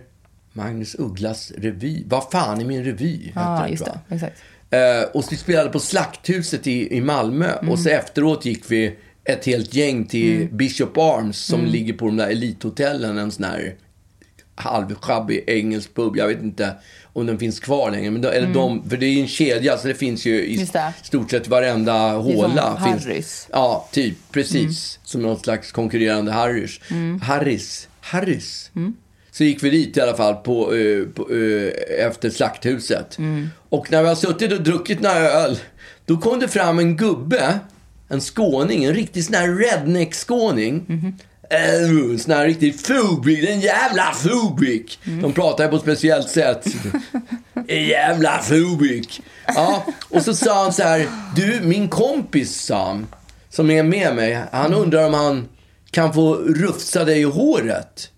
A: Magnus Ugglas revy. Vad fan är min revy? hette
B: Ja,
A: den,
B: just
A: tror jag.
B: det. Exakt.
A: Eh, och vi spelade på Slakthuset i, i Malmö.
B: Mm.
A: Och så efteråt gick vi ett helt gäng till Bishop Arms som
B: Mm.
A: ligger på de där elithotellen. En sån här halvschabbig engelsk pub. Jag vet inte om den finns kvar längre. Men de, eller de, för det är ju en kedja så det finns ju i
B: Mm. Just det.
A: stort sett varenda håla.
B: som
A: finns-
B: Harrys. Mm.
A: Ja, typ. Precis. Som någon slags konkurrerande Harrys. Harrys. Harrys.
B: Mm.
A: Så gick vi dit i alla fall på, eh, på, eh, efter Slakthuset.
B: Mm.
A: Och när vi har suttit och druckit några öl, då kom det fram en gubbe, en skåning, en riktig sån här redneck-skåning.
B: Mm-hmm.
A: Eh, sån här riktig fubrik, den jävla fubrik.
B: Mm.
A: De pratar ju på ett speciellt sätt. En jävla fubik. Ja, och så sa han så här, du min kompis Sam, som är med mig, han undrar om han kan få rufsa dig i håret.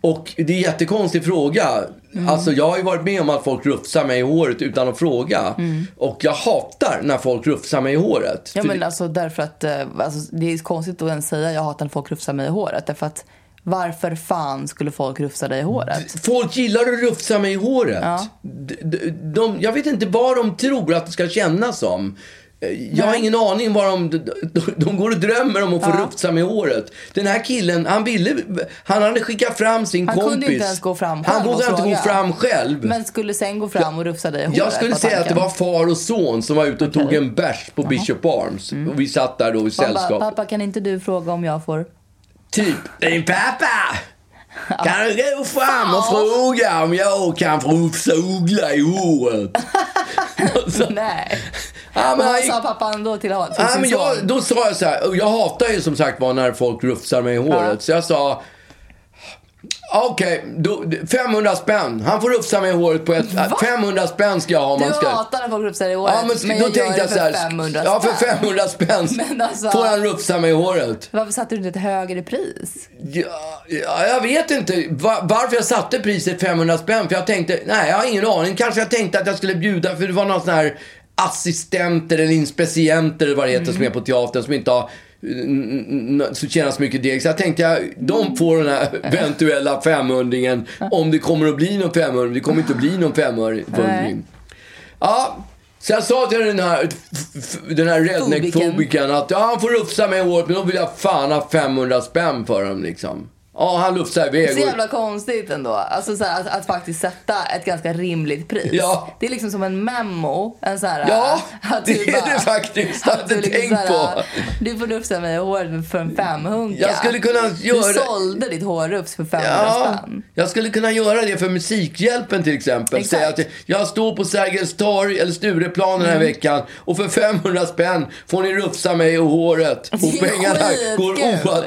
A: Och det är en jättekonstig fråga.
B: Mm.
A: Alltså jag har ju varit med om att folk rufsar mig i håret utan att fråga. Och jag hatar när folk rufsar mig i håret.
B: Mm. Ja
A: För
B: men
A: det-
B: alltså därför att eh, alltså, det är konstigt att ens säga jag hatar när folk rufsar mig i håret. Därför att varför fan skulle folk rufsa dig i håret?
A: Folk gillar att rufsa mig i håret. D- d- De, jag vet inte vad de tror att det ska kännas som. Eh, Jag har ingen aning vad de, de, de går och drömmer om att få rufsa mig i håret. Den här killen, han ville, han hade skickat fram sin
B: Han kunde
A: kompis.
B: inte ens gå fram själv
A: Han
B: och
A: vågade inte gå
B: fråga.
A: fram själv.
B: Men skulle sen gå fram och rufsa dig i håret?
A: jag skulle
B: var
A: säga att det
B: tanken.
A: var far och son som var ute och tog en bärs på Bishop Arms.
B: Mm.
A: Och vi satt där då i
B: Man bara,
A: sällskap.
B: pappa kan inte du fråga om jag får?
A: Typ, din pappa! Kan du gå fram och fråga om jag kan få rufsa Uggla i håret? Och så-
B: Nej.
A: Ja,
B: Men
A: men han
B: vad
A: gick-
B: sa pappan då till honom? Till
A: Ja,
B: sin
A: men jag,
B: son?
A: då sa jag så här, och jag hatar ju som sagt var när folk rufsar mig i håret. Så jag sa, okej, då- 500 spänn. Han får rufsa mig i håret på ett... 500 spänn ska jag ha om
B: Du
A: man ska...
B: hatar när folk rufsar dig i håret.
A: Ja, men,
B: men
A: då
B: jag gör
A: tänkte
B: det
A: jag så här,
B: för 500
A: ja, för
B: spänn.
A: 500 spänn
B: Men alltså-
A: får han rufsa mig i håret.
B: Varför satte du inte ett högre pris?
A: Ja, ja, jag vet inte va- varför jag satte priset 500 spänn. För jag tänkte, nej jag har ingen aning. Kanske jag tänkte att jag skulle bjuda, för det var någon sån här assistenter eller inspecienter eller vad det heter som är på teatern som inte har n- n- n- så tjänar så mycket deg. Så jag tänkte jag, de får den här eventuella femhundringen om det kommer att bli någon femhundring. Det kommer inte att bli någon femhundring. Ja, så jag sa till den här, f- f- den här redneck-fobikern att ja, han får rufsa mig i håret men då vill jag fan ha 500 spänn för honom liksom. Ja, Ja, han lufsar iväg.
B: Så
A: och-
B: jävla konstigt ändå. Alltså så här, att, att faktiskt sätta ett ganska rimligt pris.
A: Ja.
B: Det är liksom som en memo. En så här,
A: Ja,
B: att
A: det
B: du
A: är det faktiskt. Jag
B: typ att du liksom
A: hade tänkt
B: så här,
A: på.
B: Du får lufsa mig i håret för en femhunka.
A: Jag skulle kunna göra-
B: Du sålde ditt hårrufs för 500
A: Ja,
B: spänn.
A: jag skulle kunna göra det för Musikhjälpen till exempel.
B: Exakt. Mm.
A: Säga att jag står på Sergels torg eller Stureplan den här veckan och för 500 spänn får ni rufsa mig och håret.
B: Det
A: Och
B: är
A: pengarna
B: skitkul.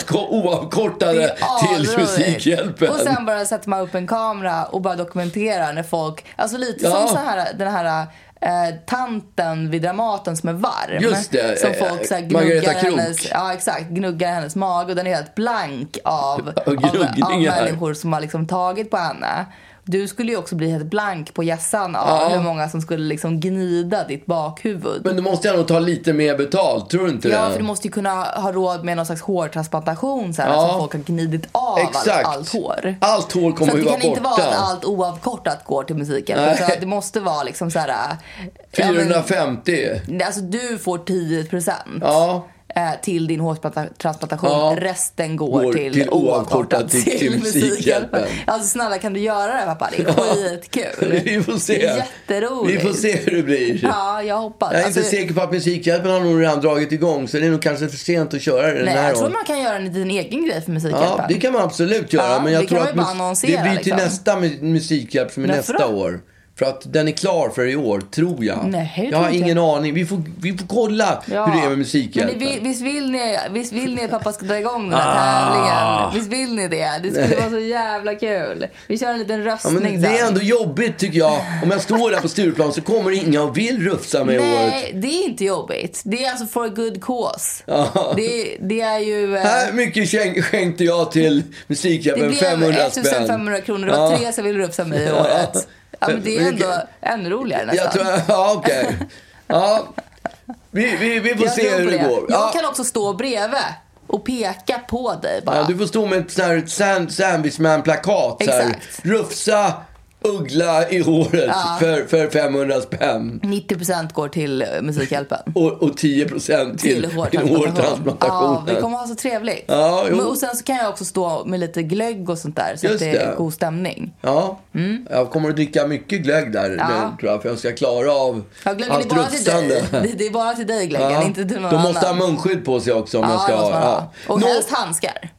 A: går oavk-
B: Det
A: oavkortade
B: är
A: till
B: asroligt.
A: Musikhjälpen.
B: Och sen bara sätter man upp en kamera och bara dokumenterar när folk... Alltså lite
A: Ja.
B: som så här, den här eh, tanten vid Dramaten som är varm.
A: Just det,
B: Som
A: eh,
B: folk så här,
A: Margareta
B: gnuggar,
A: Krook.
B: hennes, ja, exakt, gnuggar hennes mage och den är helt blank av, av, av
A: gnuggningar.
B: människor som har liksom tagit på henne. Du skulle ju också bli helt blank på hjässan av
A: Ja.
B: hur många som skulle liksom gnida ditt bakhuvud.
A: Men då måste jag nog ta lite mer betalt, tror du inte
B: Ja,
A: det?
B: för du måste ju kunna ha råd med någon slags hårtransplantation sen,
A: Ja.
B: som folk har gnidit av
A: Exakt.
B: Allt, allt hår.
A: Allt hår kommer
B: så att
A: ju
B: det
A: vara
B: kan inte vara
A: borta.
B: att allt oavkortat går till musiken.
A: Nej.
B: utan Det måste vara liksom så här... ja, men-
A: 450.
B: Alltså du får 10 procent
A: Ja.
B: till din hårtransplantation.
A: Ja.
B: Resten går,
A: Går
B: till,
A: till oavkortat
B: oavkortat
A: till- till Musikhjälpen.
B: Alltså snälla kan du göra det pappa? Det är skitkul.
A: Vi får se.
B: Det är jätteroligt.
A: Vi får se hur det blir.
B: Ja, jag hoppas.
A: Jag är
B: Alltså-
A: inte säker på att Musikhjälpen har nog redan dragit igång så det är nog kanske för sent att köra den
B: Nej,
A: här
B: jag tror
A: gången.
B: man kan göra en liten egen grej för Musikhjälpen.
A: Ja, det kan man absolut göra.
B: Ja,
A: men jag
B: det
A: tror
B: kan man
A: att
B: ju bara
A: mus-
B: annonsera,
A: det blir till
B: liksom.
A: nästa mu- musikhjälp som är
B: Varför
A: nästa
B: då?
A: år. För att den är klar för i år, tror jag.
B: Nej, det
A: jag har
B: tror inte
A: ingen
B: jag.
A: aning. Vi får, vi får kolla
B: Ja.
A: hur det är med
B: Men
A: musikhjälpen.
B: det, vi- visst, vill ni, visst vill ni att pappa ska dra igång den här tävlingen? Visst vill ni det? Det skulle vara så jävla kul. Vi kör en liten
A: Ja,
B: röstning
A: men det är
B: sen.
A: ändå jobbigt tycker jag. Om jag står där på Stureplan så kommer ingen och vill rufsa mig i håret.
B: Nej, det är inte jobbigt. Det är alltså for a good cause. Det, det är ju... eh,
A: Här mycket skänk- skänkte jag till
B: det
A: musikhjälpen.
B: blev
A: 500 spänn.
B: 1500 kronor. Det var
A: Ja.
B: tre som ville rufsa mig i året. Ja, men det är
A: Vilket-
B: ändå ännu roligare nästan.
A: Jag tror, ja, okej. Ja, vi, vi, vi får
B: Jag
A: se
B: tror
A: hur
B: på
A: det, går.
B: Jag
A: Ja.
B: kan också stå bredvid och peka på dig bara.
A: Ja, du får stå med ett sånt här sand, Sandwichman-plakat. så här.
B: Exakt.
A: Rufsa Uggla i håret för, för 500 spänn.
B: 90% går till eh, Musikhjälpen.
A: Och, och 10 procent till,
B: till
A: till
B: hårtransplantation. Ja, vi
A: hårtransplantationen.
B: kommer ha så trevligt.
A: Ja, jo.
B: Men, och sen så kan jag också stå med lite glögg och sånt där så
A: Just
B: att det är
A: det.
B: god stämning.
A: Ja,
B: Mm.
A: jag kommer att dricka mycket glögg där nu, tror jag, för jag ska klara av
B: Ja, glöggen är
A: allt
B: bara till dig.
A: rufsande.
B: Det, det är bara till dig glöggen,
A: Ja.
B: inte till någon
A: De måste
B: annan.
A: ha munskydd på sig också om
B: ja,
A: jag ska
B: det måste
A: ha.
B: man
A: Ja.
B: ha. Och
A: Nå-
B: helst handskar.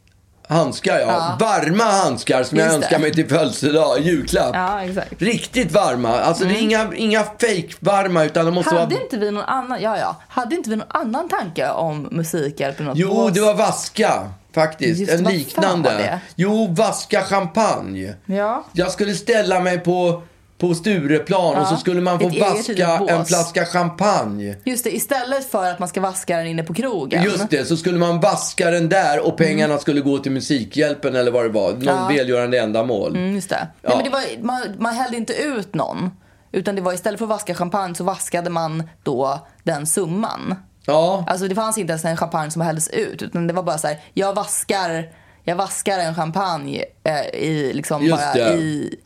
A: Handskar, ja. Varma handskar som jag
B: Just det.
A: önskar mig till födelsedag, julklapp.
B: Ja, exakt. Mm.
A: Riktigt varma. Alltså det är inga, inga fake-varma utan de måste
B: Hade
A: vara...
B: inte vi någon annan, ja ja, hade inte vi någon annan tanke om musikhjälp eller något? på
A: Jo,
B: oss?
A: det var vaska faktiskt.
B: Just det,
A: en
B: vad fan
A: liknande.
B: var det?
A: Jo, vaska champagne.
B: Ja.
A: Jag skulle ställa mig på, på Stureplan och så skulle man få
B: Ett eget litet
A: vaska
B: bås.
A: en flaska champagne.
B: Just det, istället för att man ska vaska den inne på krogen.
A: Just det, så skulle man vaska den där och pengarna
B: Mm.
A: skulle gå till Musikhjälpen eller vad det var. Någon välgörande ändamål.
B: Mm, just det.
A: Ja.
B: Nej, men det var, man, man hällde inte ut någon. Utan det var istället för att vaska champagne så vaskade man då den summan.
A: Ja.
B: Alltså det fanns inte ens en champagne som hälldes ut. Utan det var bara så här, jag vaskar, jag vaskar en champagne eh, i liksom
A: Just
B: bara
A: det.
B: i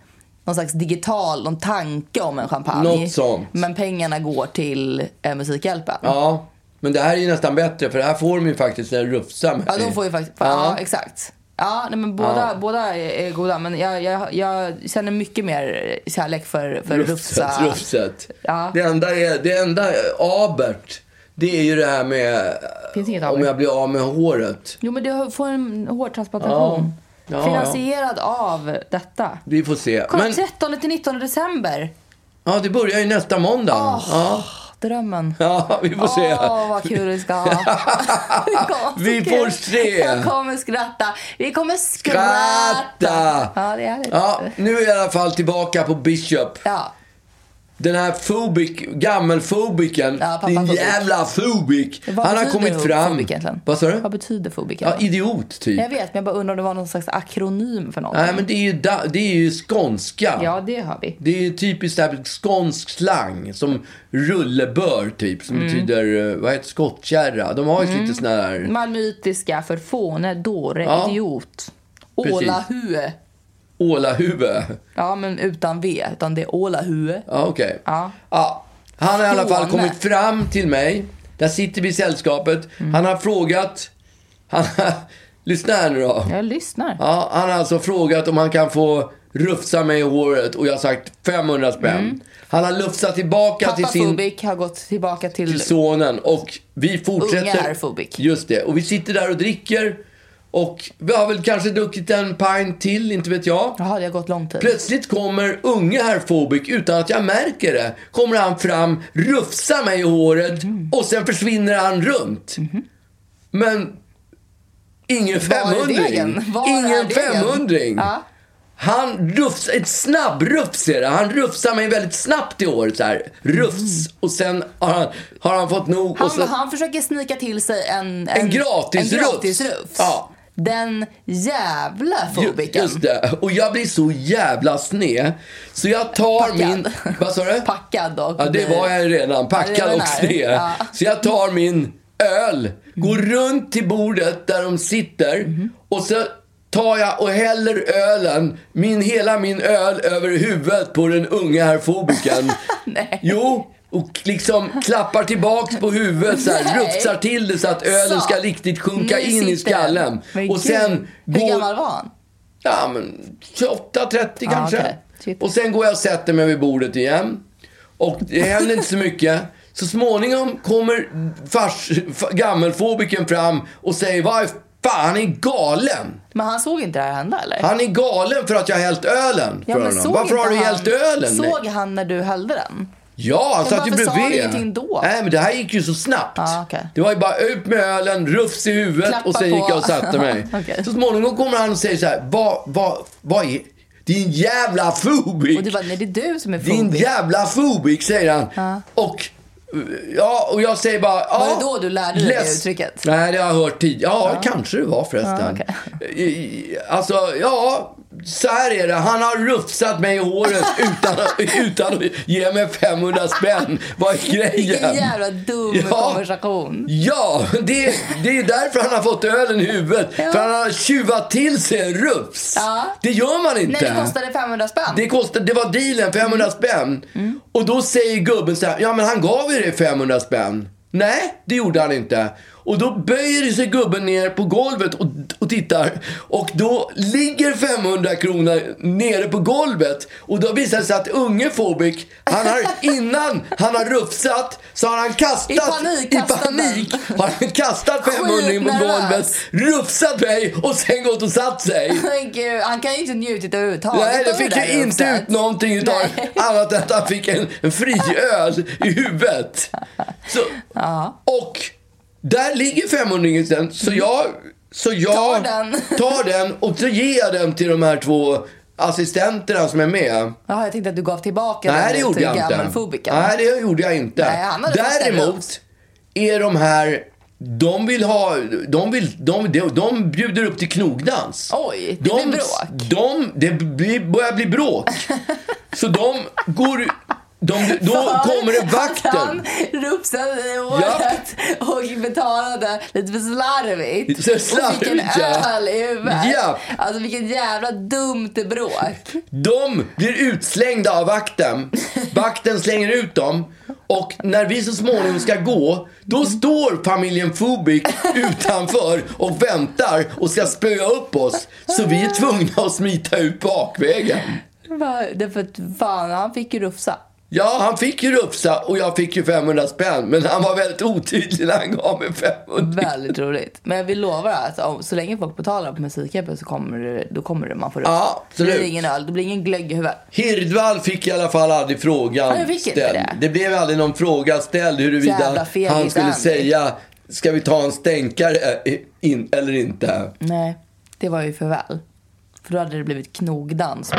B: någon slags digital, någon tanke om en champagne.
A: Något sånt.
B: Men pengarna går till eh, Musikhjälpen.
A: ja. Men det här är ju nästan bättre för här får de ju faktiskt en rufsa mig.
B: Ja, de får ju faktiskt... Ja, exakt. Ja, nej, men båda, båda är är goda. Men jag, jag, jag känner mycket mer kärlek för, för Rufsa.
A: Rufset, rufset.
B: Ja.
A: Det enda, är, det enda är- abert, det är ju det här med
B: Finns inget
A: om
B: abert.
A: jag blir av med håret.
B: Jo, men du får en hårtransplantation.
A: Ja. Ja,
B: Finansierad av detta.
A: Vi får se.
B: Kolla,
A: Men,
B: 13 till 19 december.
A: ja, det börjar ju nästa måndag. Ja,
B: Drömmen.
A: ja, vi får se.
B: Åh, vad kul vi ska ha. Det kommer vara så
A: Vi får
B: kul.
A: se.
B: Jag kommer skratta. Vi kommer skratta.
A: Skratta!
B: Ja, det är härligt.
A: Ja, nu är jag i alla fall tillbaka på Bishop.
B: Ja.
A: Den här fobik, gammelfobiken,
B: Ja, pappa
A: din
B: fobik.
A: jävla fobik.
B: Vad
A: Han har
B: betyder
A: kommit fram.
B: fobik egentligen?
A: Vad sa du?
B: Vad betyder fobik?
A: Ja, idiot, typ.
B: Jag vet, men jag bara undrar om det var någon slags akronym för någonting.
A: Nej, men det är ju, da- det är ju skånska.
B: Ja, det har vi.
A: Det är ju typiskt där skånsk slang som rullebör typ
B: Mm.
A: som betyder eh, vad heter det, skottkärra. De har ju lite såna här
B: Malmöitiska för fåne, dåre,
A: Ja.
B: idiot.
A: Precis.
B: Ålahue.
A: ålahuvud.
B: Ja, men utan V, utan det är ålahue.
A: Ja, okej.
B: Ja.
A: Ja. Han har i alla fall
B: Skåne.
A: kommit
B: Mm.
A: fram till mig. Där sitter vi i sällskapet. Han har frågat. Han har Lyssna här nu då.
B: Jag lyssnar.
A: Ja, han har alltså frågat om han kan få rufsa mig i håret och jag har sagt 500 spänn. Han har lufsat tillbaka
B: Mm. Pappa
A: till sin
B: Fubik har gått tillbaka till...
A: till sonen och vi fortsätter.
B: Unga är fobik.
A: Just det. Och vi sitter där och dricker och vi har väl kanske druckit en pint till, inte vet jag.
B: Jaha, det har gått lång tid.
A: Plötsligt kommer unge herr Fobik, utan att jag märker det, kommer han fram, rufsar mig i håret
B: Mm.
A: och sen försvinner han runt. Men ingen
B: Mm-hmm. är
A: femhundring.
B: degen? Var är
A: Ingen
B: degen?
A: femhundring.
B: Ja.
A: Han rufsar, ett snabb rufs är det. Han rufsar mig väldigt snabbt i håret så här. Rufs. Och sen har han, har han fått nog.
B: Mm. Han,
A: och så,
B: han försöker snika till sig en...
A: En gratis
B: en
A: rufs.
B: gratis rufs.
A: Ja.
B: Den jävla
A: Ju-
B: fobiken.
A: Just det. Och jag blir så jävla sned. Så jag tar
B: Packad.
A: min... Vad sa du?
B: Packad och...
A: Ja, det var jag ju redan.
B: Ja, det
A: Packad
B: var
A: och
B: när.
A: sned.
B: Ja. Mm.
A: Så jag tar min öl, går runt till bordet där de sitter
B: Mm-hmm.
A: och så tar jag och häller ölen, min, hela min öl över huvudet på den unga herr Fobiken.
B: Nej.
A: Jo, och liksom klappar tillbaks på huvudet så här,
B: Nej.
A: rufsar till det så att ölen
B: Så.
A: ska riktigt sjunka
B: Nu
A: in i
B: sitter den.
A: skallen.
B: Men
A: Och sen
B: gud, Hur gammal var han?
A: Ja, men 28, 30
B: Ja,
A: kanske.
B: okej. Typ.
A: Och sen går jag och sätter mig vid bordet igen. Och det händer inte så mycket. Så småningom kommer fars, f- gammelfobiken fram och säger vad fan, han är galen.
B: Men han såg inte det här hända eller?
A: Han är galen för att jag har hällt ölen för honom. Varför har
B: inte
A: du hällt ölen?
B: Såg han när du hällde den?
A: Ja, han
B: Men
A: satt ju
B: varför
A: bredvid.
B: sa han ingenting då?
A: Nej, men det här gick ju så snabbt.
B: Ja, okej.
A: Det var ju bara ut med ölen, rufs i huvudet
B: Klappa
A: och sen
B: på.
A: gick jag och satte mig.
B: Okej.
A: Så småningom kommer han och säger så här, vad, vad, vad är, din jävla fobik!
B: Och du bara, nej det är du som är
A: Din
B: fobik.
A: jävla fobik, säger han. Och, ja, och jag säger bara... Ja,
B: Var det då du lärde dig det uttrycket?
A: Nej, det har jag hört tidigare. Ja, kanske det var förresten.
B: Ja,
A: I- i- Alltså, ja. Så här är det, han har rufsat mig i håret utan, att- utan att ge mig 500 spänn. Vad är
B: Vilken
A: grejen?
B: jävla dum
A: Ja.
B: konversation.
A: Ja, det, det är därför han har fått ölen i huvudet.
B: Ja.
A: För han har tjuvat till sig en rufs.
B: Ja.
A: Det gör man inte.
B: Nej, det kostade 500 spänn.
A: Det, kostade, det var dealen, 500
B: Mm.
A: spänn. Och då säger gubben så här, ja men han gav ju dig 500 spänn. Nej, det gjorde han inte. Och då böjer sig gubben ner på golvet och, och tittar. Och då ligger 500 kronor nere på golvet. Och då visar det sig att unge Fobik, han har innan han har rufsat så har han kastat,
B: I panik kastade han.
A: panik har han kastat 500 på
B: Skitnervös.
A: golvet, rufsat mig och sen gått och satt sig.
B: Men gud, han kan ju inte njutit överhuvudtaget
A: Nej, det
B: av
A: fick
B: där
A: ju inte
B: rufset.
A: ut någonting utav
B: Nej.
A: annat än att han fick en, en fri öl i huvudet. Så, och där ligger 500 sen, så jag, så jag
B: Mm. Tar den.
A: tar den och så ger jag den till de här två assistenterna som är med.
B: Jaha, jag tänkte att du gav tillbaka
A: Nej,
B: den
A: det gjorde
B: till
A: jag inte.
B: gammelfobiken.
A: Nej, det gjorde jag inte.
B: Nej, han hade fått en
A: Däremot
B: rufs.
A: är de här de vill ha, de vill, de, de, de bjuder upp till knogdans.
B: Oj, det blir bråk.
A: De, det blir, börjar bli bråk. Så de går, de, då kommer det
B: Han
A: vakter.
B: rufsade i håret och betalade lite för slarvigt.
A: Så slarvigt,
B: och fick en
A: ja.
B: öl i huvudet.
A: Ja.
B: Alltså vilket jävla dumt bråk.
A: De blir utslängda av vakten. Vakten slänger ut dem. Och när vi så småningom ska gå, då står familjen Fubik utanför och väntar och ska spöa upp oss. Så vi är tvungna att smita ut bakvägen.
B: Va- Därför att fan, han fick ju rufsa.
A: Ja, han fick ju rufsa och jag fick ju 500 spänn. Men han var väldigt otydlig när han gav mig 500.
B: Väldigt roligt. Men vi lovar att om, så länge folk betalar på Musikhjälpen så kommer det, då kommer det man får rufsa.
A: Ja, absolut.
B: Det blir ingen öl, det blir ingen glögg i huvudet.
A: Hirdvall fick i alla fall aldrig frågan
B: Ja, jag fick inte
A: ställd.
B: det.
A: blev aldrig någon fråga ställd huruvida
B: Jävla fegis
A: han skulle
B: Andy.
A: säga Ska vi ta en stänkare eh, in, eller inte?
B: Nej, det var ju för väl. För då hade det blivit knogdans.
A: Ja,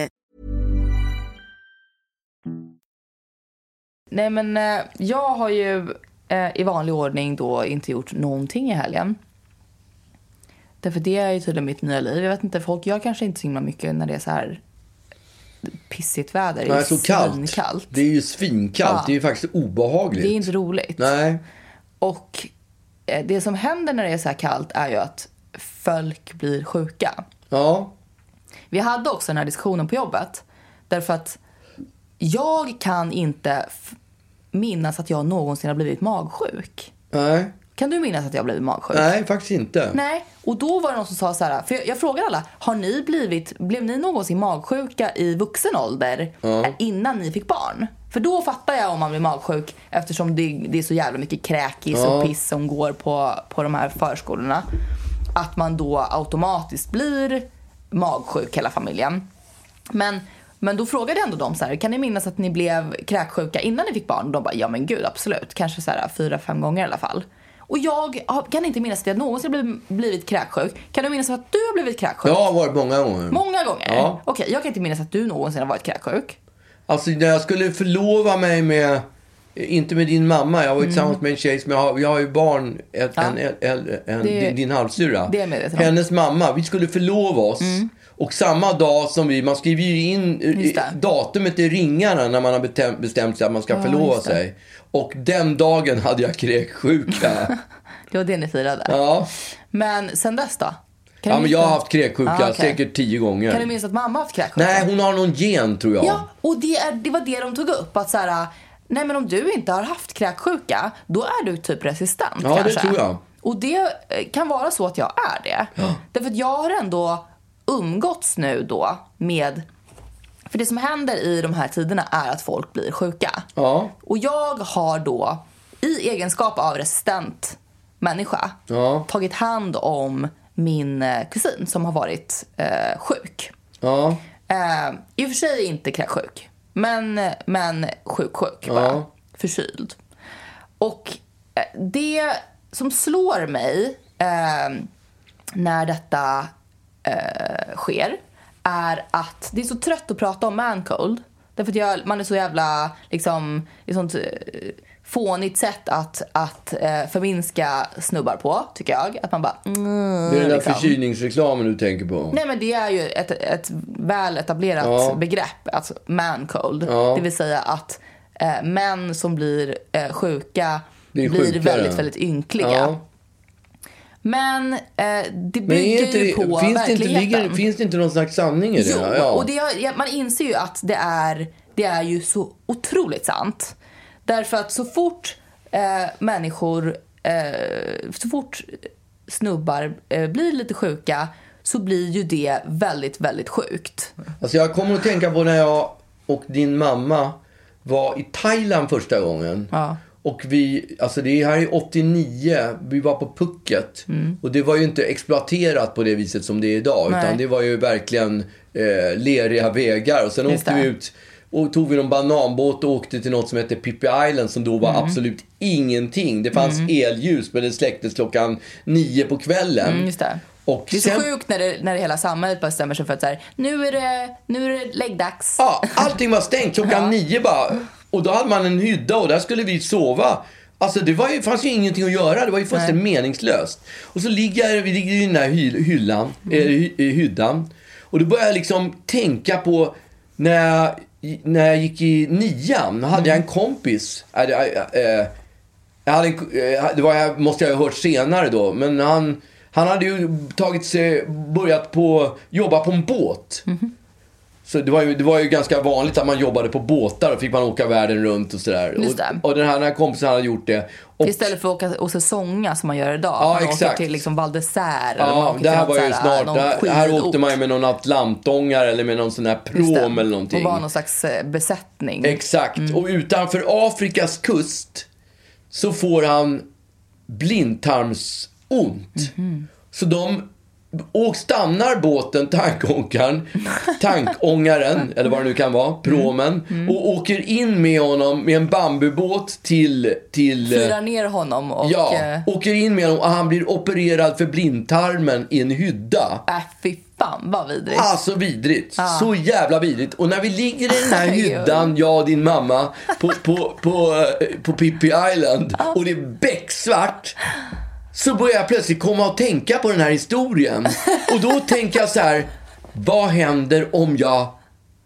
B: Nej, men eh, jag har ju eh, i vanlig ordning då inte gjort någonting i helgen. Därför det är ju tydligen mitt nya liv. Jag vet inte, folk gör kanske inte så himla mycket när det är så här pissigt väder.
A: Nej, så kallt.
B: svinkallt.
A: Det är ju svinkallt.
B: Ja.
A: Det är ju faktiskt obehagligt.
B: Det är inte roligt.
A: Nej.
B: Och eh, det som händer när det är så här kallt är ju att folk blir sjuka.
A: Ja.
B: Vi hade också den här diskussionen på jobbet. Därför att jag kan inte f- minnas att jag någonsin har blivit magsjuk.
A: Nej.
B: Kan du minnas att jag blev magsjuk?
A: Nej, faktiskt inte.
B: Nej. Och då var det någon som sa så här, för jag, jag frågade alla, har ni blivit, blev ni någonsin magsjuka i vuxen ålder eh, innan ni fick barn? För då fattar jag om man blir magsjuk eftersom det, det är så jävla mycket kräkis och piss som går på, på de här förskolorna. Att man då automatiskt blir magsjuk hela familjen. Men, men då frågade jag ändå dem så här, kan ni minnas att ni blev kräksjuka innan ni fick barn? Och de bara, ja men gud absolut. Kanske så här fyra, fem gånger i alla fall. Och jag har- kan inte minnas att jag någonsin blivit, blivit kräksjuk. Kan du minnas att du har blivit kräksjuk?
A: Jag har varit många gånger.
B: Många gånger?
A: Ja.
B: Okej, jag kan inte minnas att du någonsin har varit kräksjuk.
A: Alltså när jag skulle förlova mig med, inte med din mamma, jag var ju
B: Mm.
A: tillsammans med en tjej som jag har, jag har ju barn, ett, en, en, en,
B: Det-
A: din, din halvsyrra.
B: det är jag medveten om. Mm.
A: Hennes mamma, vi skulle förlova oss. Och samma dag som vi, man skriver ju in eh,
B: Just det.
A: datumet i ringarna när man har betäm- bestämt sig att man ska förlova
B: just det.
A: sig. Och den dagen hade jag kräksjuka.
B: Det var det ni firade.
A: ja.
B: Men sen dess då? Kan du
A: ja, men
B: minnas-
A: jag har haft kräksjuka
B: Ah, okej.
A: säkert tio gånger.
B: Kan du minnas att mamma har haft kräksjuka?
A: Nej, hon har någon gen tror jag.
B: Ja, och det, är, det var det de tog upp. Att så här, nej men om du inte har haft kräksjuka, då är du typ resistent
A: Ja, det
B: kanske.
A: tror jag.
B: Och det eh, kan vara så att jag är det. Därför att jag har ändå umgåtts nu då med... För det som händer i de här tiderna är att folk blir sjuka.
A: Ja.
B: Och jag har då, i egenskap av resistent människa,
A: Ja.
B: tagit hand om min eh, kusin som har varit eh, sjuk.
A: Ja.
B: Eh, I och för sig inte kräksjuk, men, men sjuk, sjuk bara.
A: Ja.
B: Förkyld. Och eh, det som slår mig eh, när detta eh, sker är att det är så trött att prata om mancold. Därför att jag, man är så jävla, liksom, det är sånt eh, fånigt sätt att, att eh, förminska snubbar på, tycker jag. Att man bara... Mm,
A: Det är den där
B: liksom.
A: förkylningsreklamen du tänker på.
B: Nej men det är ju ett, ett väl etablerat
A: Ja.
B: begrepp, alltså man cold.
A: Ja.
B: Det vill säga att eh, män som blir eh, sjuka
A: Blir
B: blir,
A: sjukare.
B: väldigt, väldigt ynkliga.
A: Ja.
B: Men eh, det
A: Men är
B: bygger
A: inte,
B: ju
A: det-
B: på
A: finns, det inte
B: verkligheten.
A: ligger, finns det inte någon slags sanning i det?
B: Jo,
A: då? ja.
B: och det, ja, man inser ju att det är, det är ju så otroligt sant. Därför att så fort eh, människor, eh, så fort snubbar eh, blir lite sjuka så blir ju det väldigt, väldigt sjukt.
A: Alltså jag kommer att tänka på när jag och din mamma var i Thailand första gången.
B: Ja.
A: Och vi, alltså det här är 89, vi var på Phuket. Och det var ju inte exploaterat på det viset som det är idag.
B: Mm. Nej.
A: Utan det var ju verkligen eh, leriga vägar. Och sen
B: Just
A: åkte vi
B: det.
A: ut och tog vi någon bananbåt och åkte till något som hette Pippi Island som då var
B: Mm.
A: absolut ingenting. Det fanns elljus men det släcktes klockan nio på kvällen.
B: Mm, just det.
A: Och
B: det är så
A: sen-
B: sjukt när, det, när det hela samhället bara stämmer sig för att så här, nu är det, nu är det läggdags.
A: Ja, allting var stängt klockan nio bara. Och då hade man en hydda och där skulle vi sova. Alltså det var ju, fanns ju ingenting att göra. Det var ju fullständigt meningslöst. Och så ligger jag- vi ligger i den här hy, hyllan, eh, hy, eh, hyddan. Och då började jag liksom tänka på när jag, när jag gick i nian. Då hade jag en kompis. Äh, det- äh, äh, jag hade en, eh, det var, jag- måste jag ha hört senare då, men han, han hade ju tagit sig, börjat på, jobba på en båt. Så det var, ju, det var ju ganska vanligt att man jobbade på båtar och fick man åka världen runt och sådär.
B: Just det.
A: Och, och den här, den här kompisen hade gjort det. Och-
B: Istället för att åka och säsonga som man gör idag.
A: Ja,
B: man åker
A: exakt.
B: till liksom Val d'Isère. eller man
A: Ja,
B: åker
A: det
B: till
A: här
B: något
A: var
B: så
A: ju
B: här,
A: snart.
B: någon
A: Det här, här åkte
B: skidort.
A: man ju med någon atlantångare eller med någon sån här
B: Just det.
A: prom eller någonting.
B: Och var någon slags eh, besättning.
A: Exakt. Och utanför Afrikas kust så får han blindtarmsont. Så de och stannar båten, tankångaren, tankångaren, eller vad det nu kan vara, promen, och åker in med honom med en bambubåt till... till eh,
B: Firar ner honom och...
A: ja,
B: eh,
A: åker in med honom och han blir opererad för blindtarmen i en hydda.
B: Äh, fy fan vad vidrigt.
A: Ah, så vidrigt. Så jävla vidrigt. Och när vi ligger i den här hyddan, jag och din mamma, på, på, på, eh, på Pippi Island och det är becksvart. Så börjar jag plötsligt komma och tänka på den här historien. Och då tänker jag så här, vad händer om jag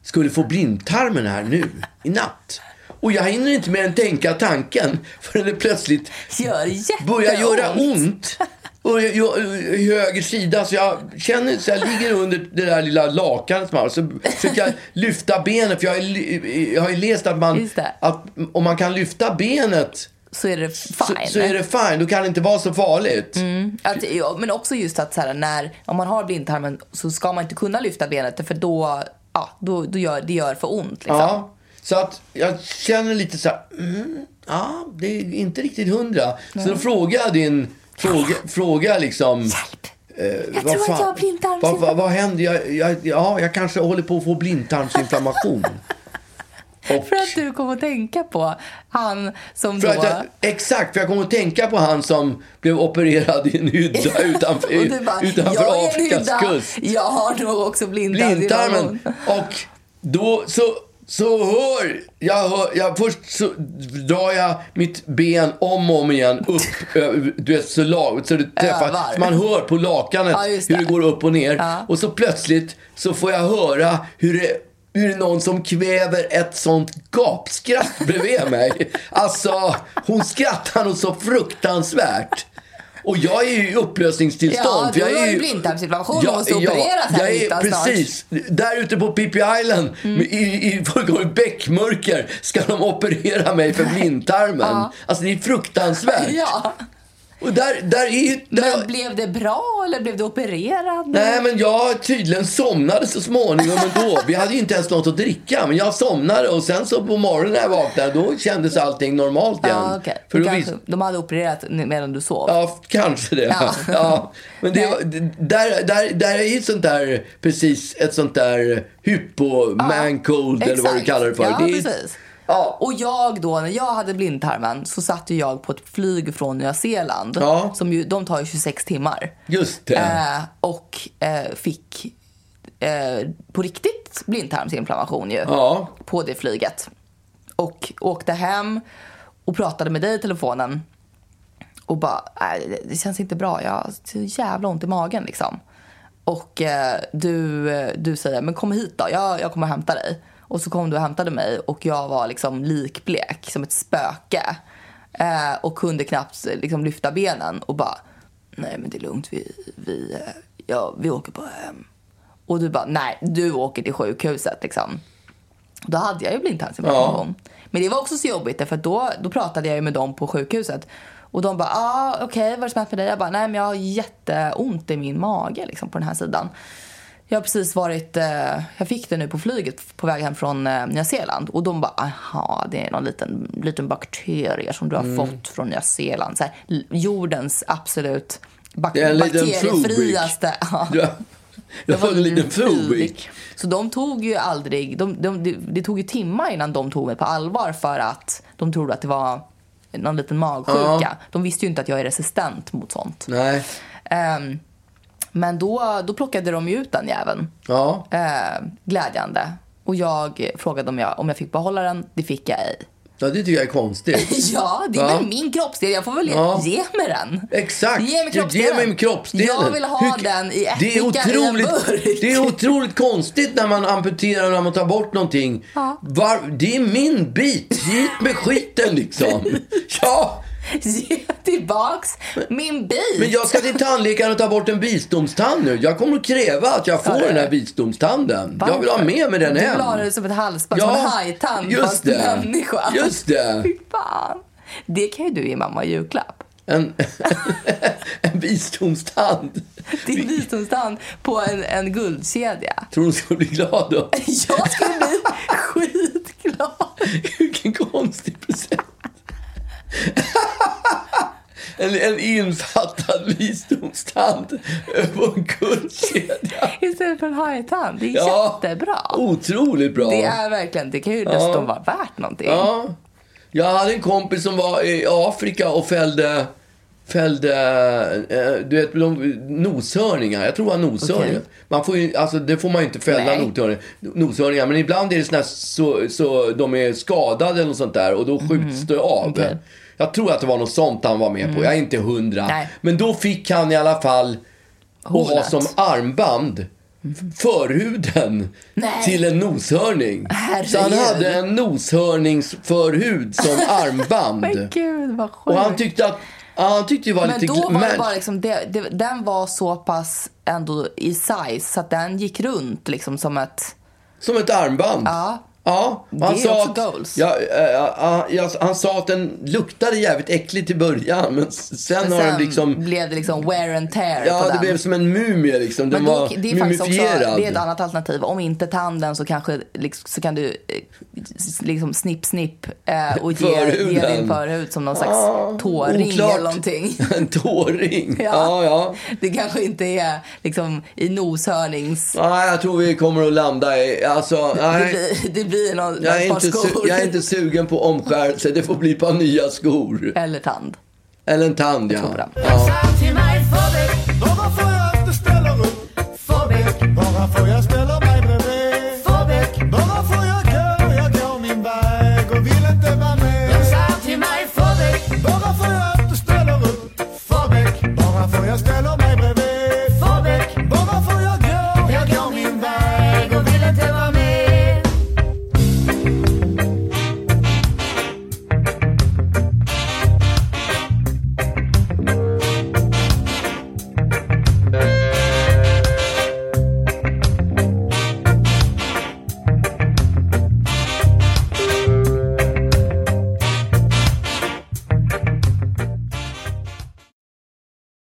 A: skulle få blindtarmen här nu i natt? Och jag hinner inte mer än tänka tanken förrän det plötsligt
B: Gör jätteont.
A: börjar göra ont. Och jag, jag, i höger sida, så jag känner så jag ligger under det där lilla lakanet som jag har. Så försöker jag lyfta benet, för jag, har ju- jag har ju läst att, man,
B: Just det.
A: att om man kan lyfta benet
B: Så är det
A: så,
B: fine.
A: så är det fine. Då kan det inte vara så farligt.
B: Att, ja, men också just att så här, när, om man har blindtarmen så ska man inte kunna lyfta benet för då, ja, då, då gör det gör för ont. Liksom.
A: Ja, så att jag känner lite så här, mm, ja, det är inte riktigt hundra. Så då frågar jag din, fråga, fråga liksom. Hjälp! jag
B: tror att jag har blindtarmsinflammation.
A: Vad, vad, vad händer? Jag, jag, ja, jag kanske håller på att få blindtarmsinflammation. Och,
B: För att du kom att tänka på han som
A: för
B: då...
A: att jag, exakt, för jag kommer att tänka på han som blev opererad i en hydda utanför,
B: och du bara, jag
A: utanför
B: är en
A: Afrikas
B: hydda.
A: kust.
B: Jag har nog också blindtarm.
A: blindtarmen. Och då så, så hör jag, hör, jag först så drar jag mitt ben om och om igen upp, över- du vet, så, lag, så det träffar.
B: Övar.
A: Så man hör på lakanet
B: Ja, just
A: hur det
B: det.
A: går upp och ner.
B: Ja.
A: Och så plötsligt så får jag höra hur det hur det är någon som kväver ett sånt gapskratt bredvid mig. Alltså, hon skrattar nog så fruktansvärt. Och jag är ju i upplösningstillstånd.
B: Ja,
A: för jag
B: du
A: är
B: har ju
A: ju-
B: blindtarmsinflammation och måste opereras här
A: jag
B: i
A: är,
B: riksdagen snart. Mm.
A: Precis. Där ute på Pippi Island med- i, i fullkomligt bäckmörker ska de operera mig för blindtarmen. Alltså det är fruktansvärt.
B: Ja.
A: Och där, där är ju... Där,
B: Men blev det bra eller blev du opererad?
A: Nej, men jag tydligen somnade så småningom ändå. Vi hade ju inte ens något att dricka, men jag somnade och sen så på morgonen när jag vaknade, då kändes allting normalt igen.
B: ja, okej.
A: För då
B: Kanske-
A: vis-
B: De hade opererat medan du sov.
A: Ja, kanske det.
B: Ja.
A: Ja. Men det, där, där, där är ju sånt där, precis ett sånt där hypo man cold eller vad du
B: Exakt.
A: kallar det för.
B: Ja,
A: det är, ju-
B: precis.
A: Ja.
B: Och jag då, när jag hade blindtarmen så satt ju jag på ett flyg från Nya Zeeland.
A: Ja.
B: Som ju, de tar ju 26 timmar.
A: Just det.
B: Eh, och eh, fick eh, på riktigt blindtarmsinflammation ju.
A: Ja.
B: På det flyget. Och åkte hem och pratade med dig i telefonen. Och bara, "Nej, det- det känns inte bra. Jag har så jävla ont i magen liksom. Och eh, du, eh, du säger, men kom hit då. Jag, jag kommer och hämta dig. Och så kom du och hämtade mig och jag var liksom likblek, som ett spöke. Eh, och kunde knappt eh, liksom, lyfta benen och bara, nej men det är lugnt. Vi, vi, eh, ja, vi åker bara hem. Och du bara, nej du åker till sjukhuset liksom. Då hade jag ju blindtarmsinflammation. Men det var också så jobbigt därför att då, då pratade jag ju med dem på sjukhuset. Och de bara, ah, okej vad är det som har hänt med dig? Jag bara, nej men jag har jätteont i min mage liksom på den här sidan. Jag har precis varit, eh, jag fick det nu på flyget på väg hem från eh, Nya Zeeland. Och de bara, aha det är någon liten, liten bakterie som du har
A: Mm.
B: fått från Nya Zeeland. Så här, l- jordens absolut bak-
A: Det är en liten
B: bakteriefriaste. Ja.
A: Jag, jag var en liten fobik.
B: Fubik. Så de tog ju aldrig, de, de, det- det tog ju timmar innan de tog mig på allvar för att de trodde att det var någon liten magsjuka. De visste ju inte att jag är resistent mot sånt.
A: Nej.
B: Ehm, men då, då plockade de ju ut den jäveln.
A: Ja.
B: Ehm, glädjande. Och jag frågade om jag, om jag fick behålla den. Det fick jag ej.
A: ja, det tycker jag är konstigt.
B: Ja, det är
A: Ja.
B: väl min kroppsdel. Jag får väl
A: Ja.
B: ge mig den.
A: Exakt.
B: Ge mig kroppsdelen.
A: Du ger mig kroppsdelen.
B: Jag vill ha den i
A: det är
B: ättika i en
A: otroligt,
B: burk.
A: Det är otroligt konstigt när man amputerar och när man tar bort någonting. Var, det är min bit. Hit med skiten liksom. Ja.
B: Ge tillbaks min bil.
A: Men jag ska till tandläkaren och ta bort en visdomstand nu. Jag kommer att kräva att jag får
B: Ja, det-
A: den här visdomstanden. Jag vill ha med mig den
B: Du
A: hem.
B: vill ha det som ett halsband, som en hajtand fast människa.
A: Just det.
B: Fy fan. Det kan ju du ge mamma i julklapp.
A: En, en visdomstand.
B: Din visdomstand på en, en guldkedja.
A: Tror du hon skulle bli glad då?
B: Jag skulle bli skitglad.
A: Vilken konstig present. En, en infattad visdomstand på en guldkedja.
B: Istället för en hajtand. Det är
A: Ja. Oh.
B: jättebra.
A: Otroligt bra.
B: Det är verkligen, det kan ju dessutom vara värt någonting.
A: Ja. Jag hade en kompis som var i Afrika och fällde, fällde eh, du vet, de- noshörningar. Jag tror det var noshörningar.
B: Okej.
A: Man får ju, alltså, det får man ju inte fälla
B: Nej.
A: noshörningar, noshörningar. Men ibland är det såna här, så, så de är skadade eller något sånt där och då skjuts det av.
B: Mhm. Okej. Mm.
A: Jag tror att det var något sånt han var med på. Jag är inte hundra.
B: Nej.
A: Men då fick han i alla fall och ha
B: Hornet.
A: som armband förhuden
B: Mm. Nej.
A: till en noshörning.
B: Herregud.
A: Så han hade en noshörningsförhud som
B: Men
A: armband.
B: gud vad sjukt.
A: Och han tyckte att han tyckte det var
B: Men
A: lite
B: då var det
A: men-
B: bara liksom, det, det, den var så pass ändå i size så att den gick runt liksom som ett...
A: som ett armband.
B: Ja.
A: Ja, och
B: Det
A: han
B: är
A: sa,
B: också
A: att,
B: goals.
A: ja, eh, ja, ja, han sa att den luktade jävligt äckligt i början men s- sen, har den liksom,
B: blev det liksom wear and tear på
A: ja det
B: den.
A: blev som en mumie liksom. Den
B: Men då,
A: var
B: det är faktiskt också,
A: mumifierad.
B: det är ett annat alternativ. Om inte tanden så kanske liksom, så kan du eh, s- liksom snipp snipp eh, och ge, ge
A: Förhuden. Ah,
B: din förhud som någon slags tåring
A: oklart.
B: eller någonting.
A: en tåring.
B: Ja.
A: ja. ja.
B: Det kanske inte är liksom i noshörnings...
A: Nej, jag tror vi kommer att landa i... Alltså,
B: Det
A: nej.
B: blir, det blir någon,
A: Jag är,
B: ett par
A: inte su-
B: skor.
A: jag är inte sugen på omskärelse. Det får bli ett par nya skor.
B: Eller tand.
A: Eller en tand, ja.
B: tror på det.
A: ja.
D: Till mig får det,
E: Någon får jag inte ställa upp
D: får det,
E: Några får jag ställa mig bredvid
D: får det.
E: Några får jag gå, jag går min väg och vill inte vara med
D: Sa till mig får det,
E: Några får jag inte ställa upp
D: får det,
E: Några får jag ställa mig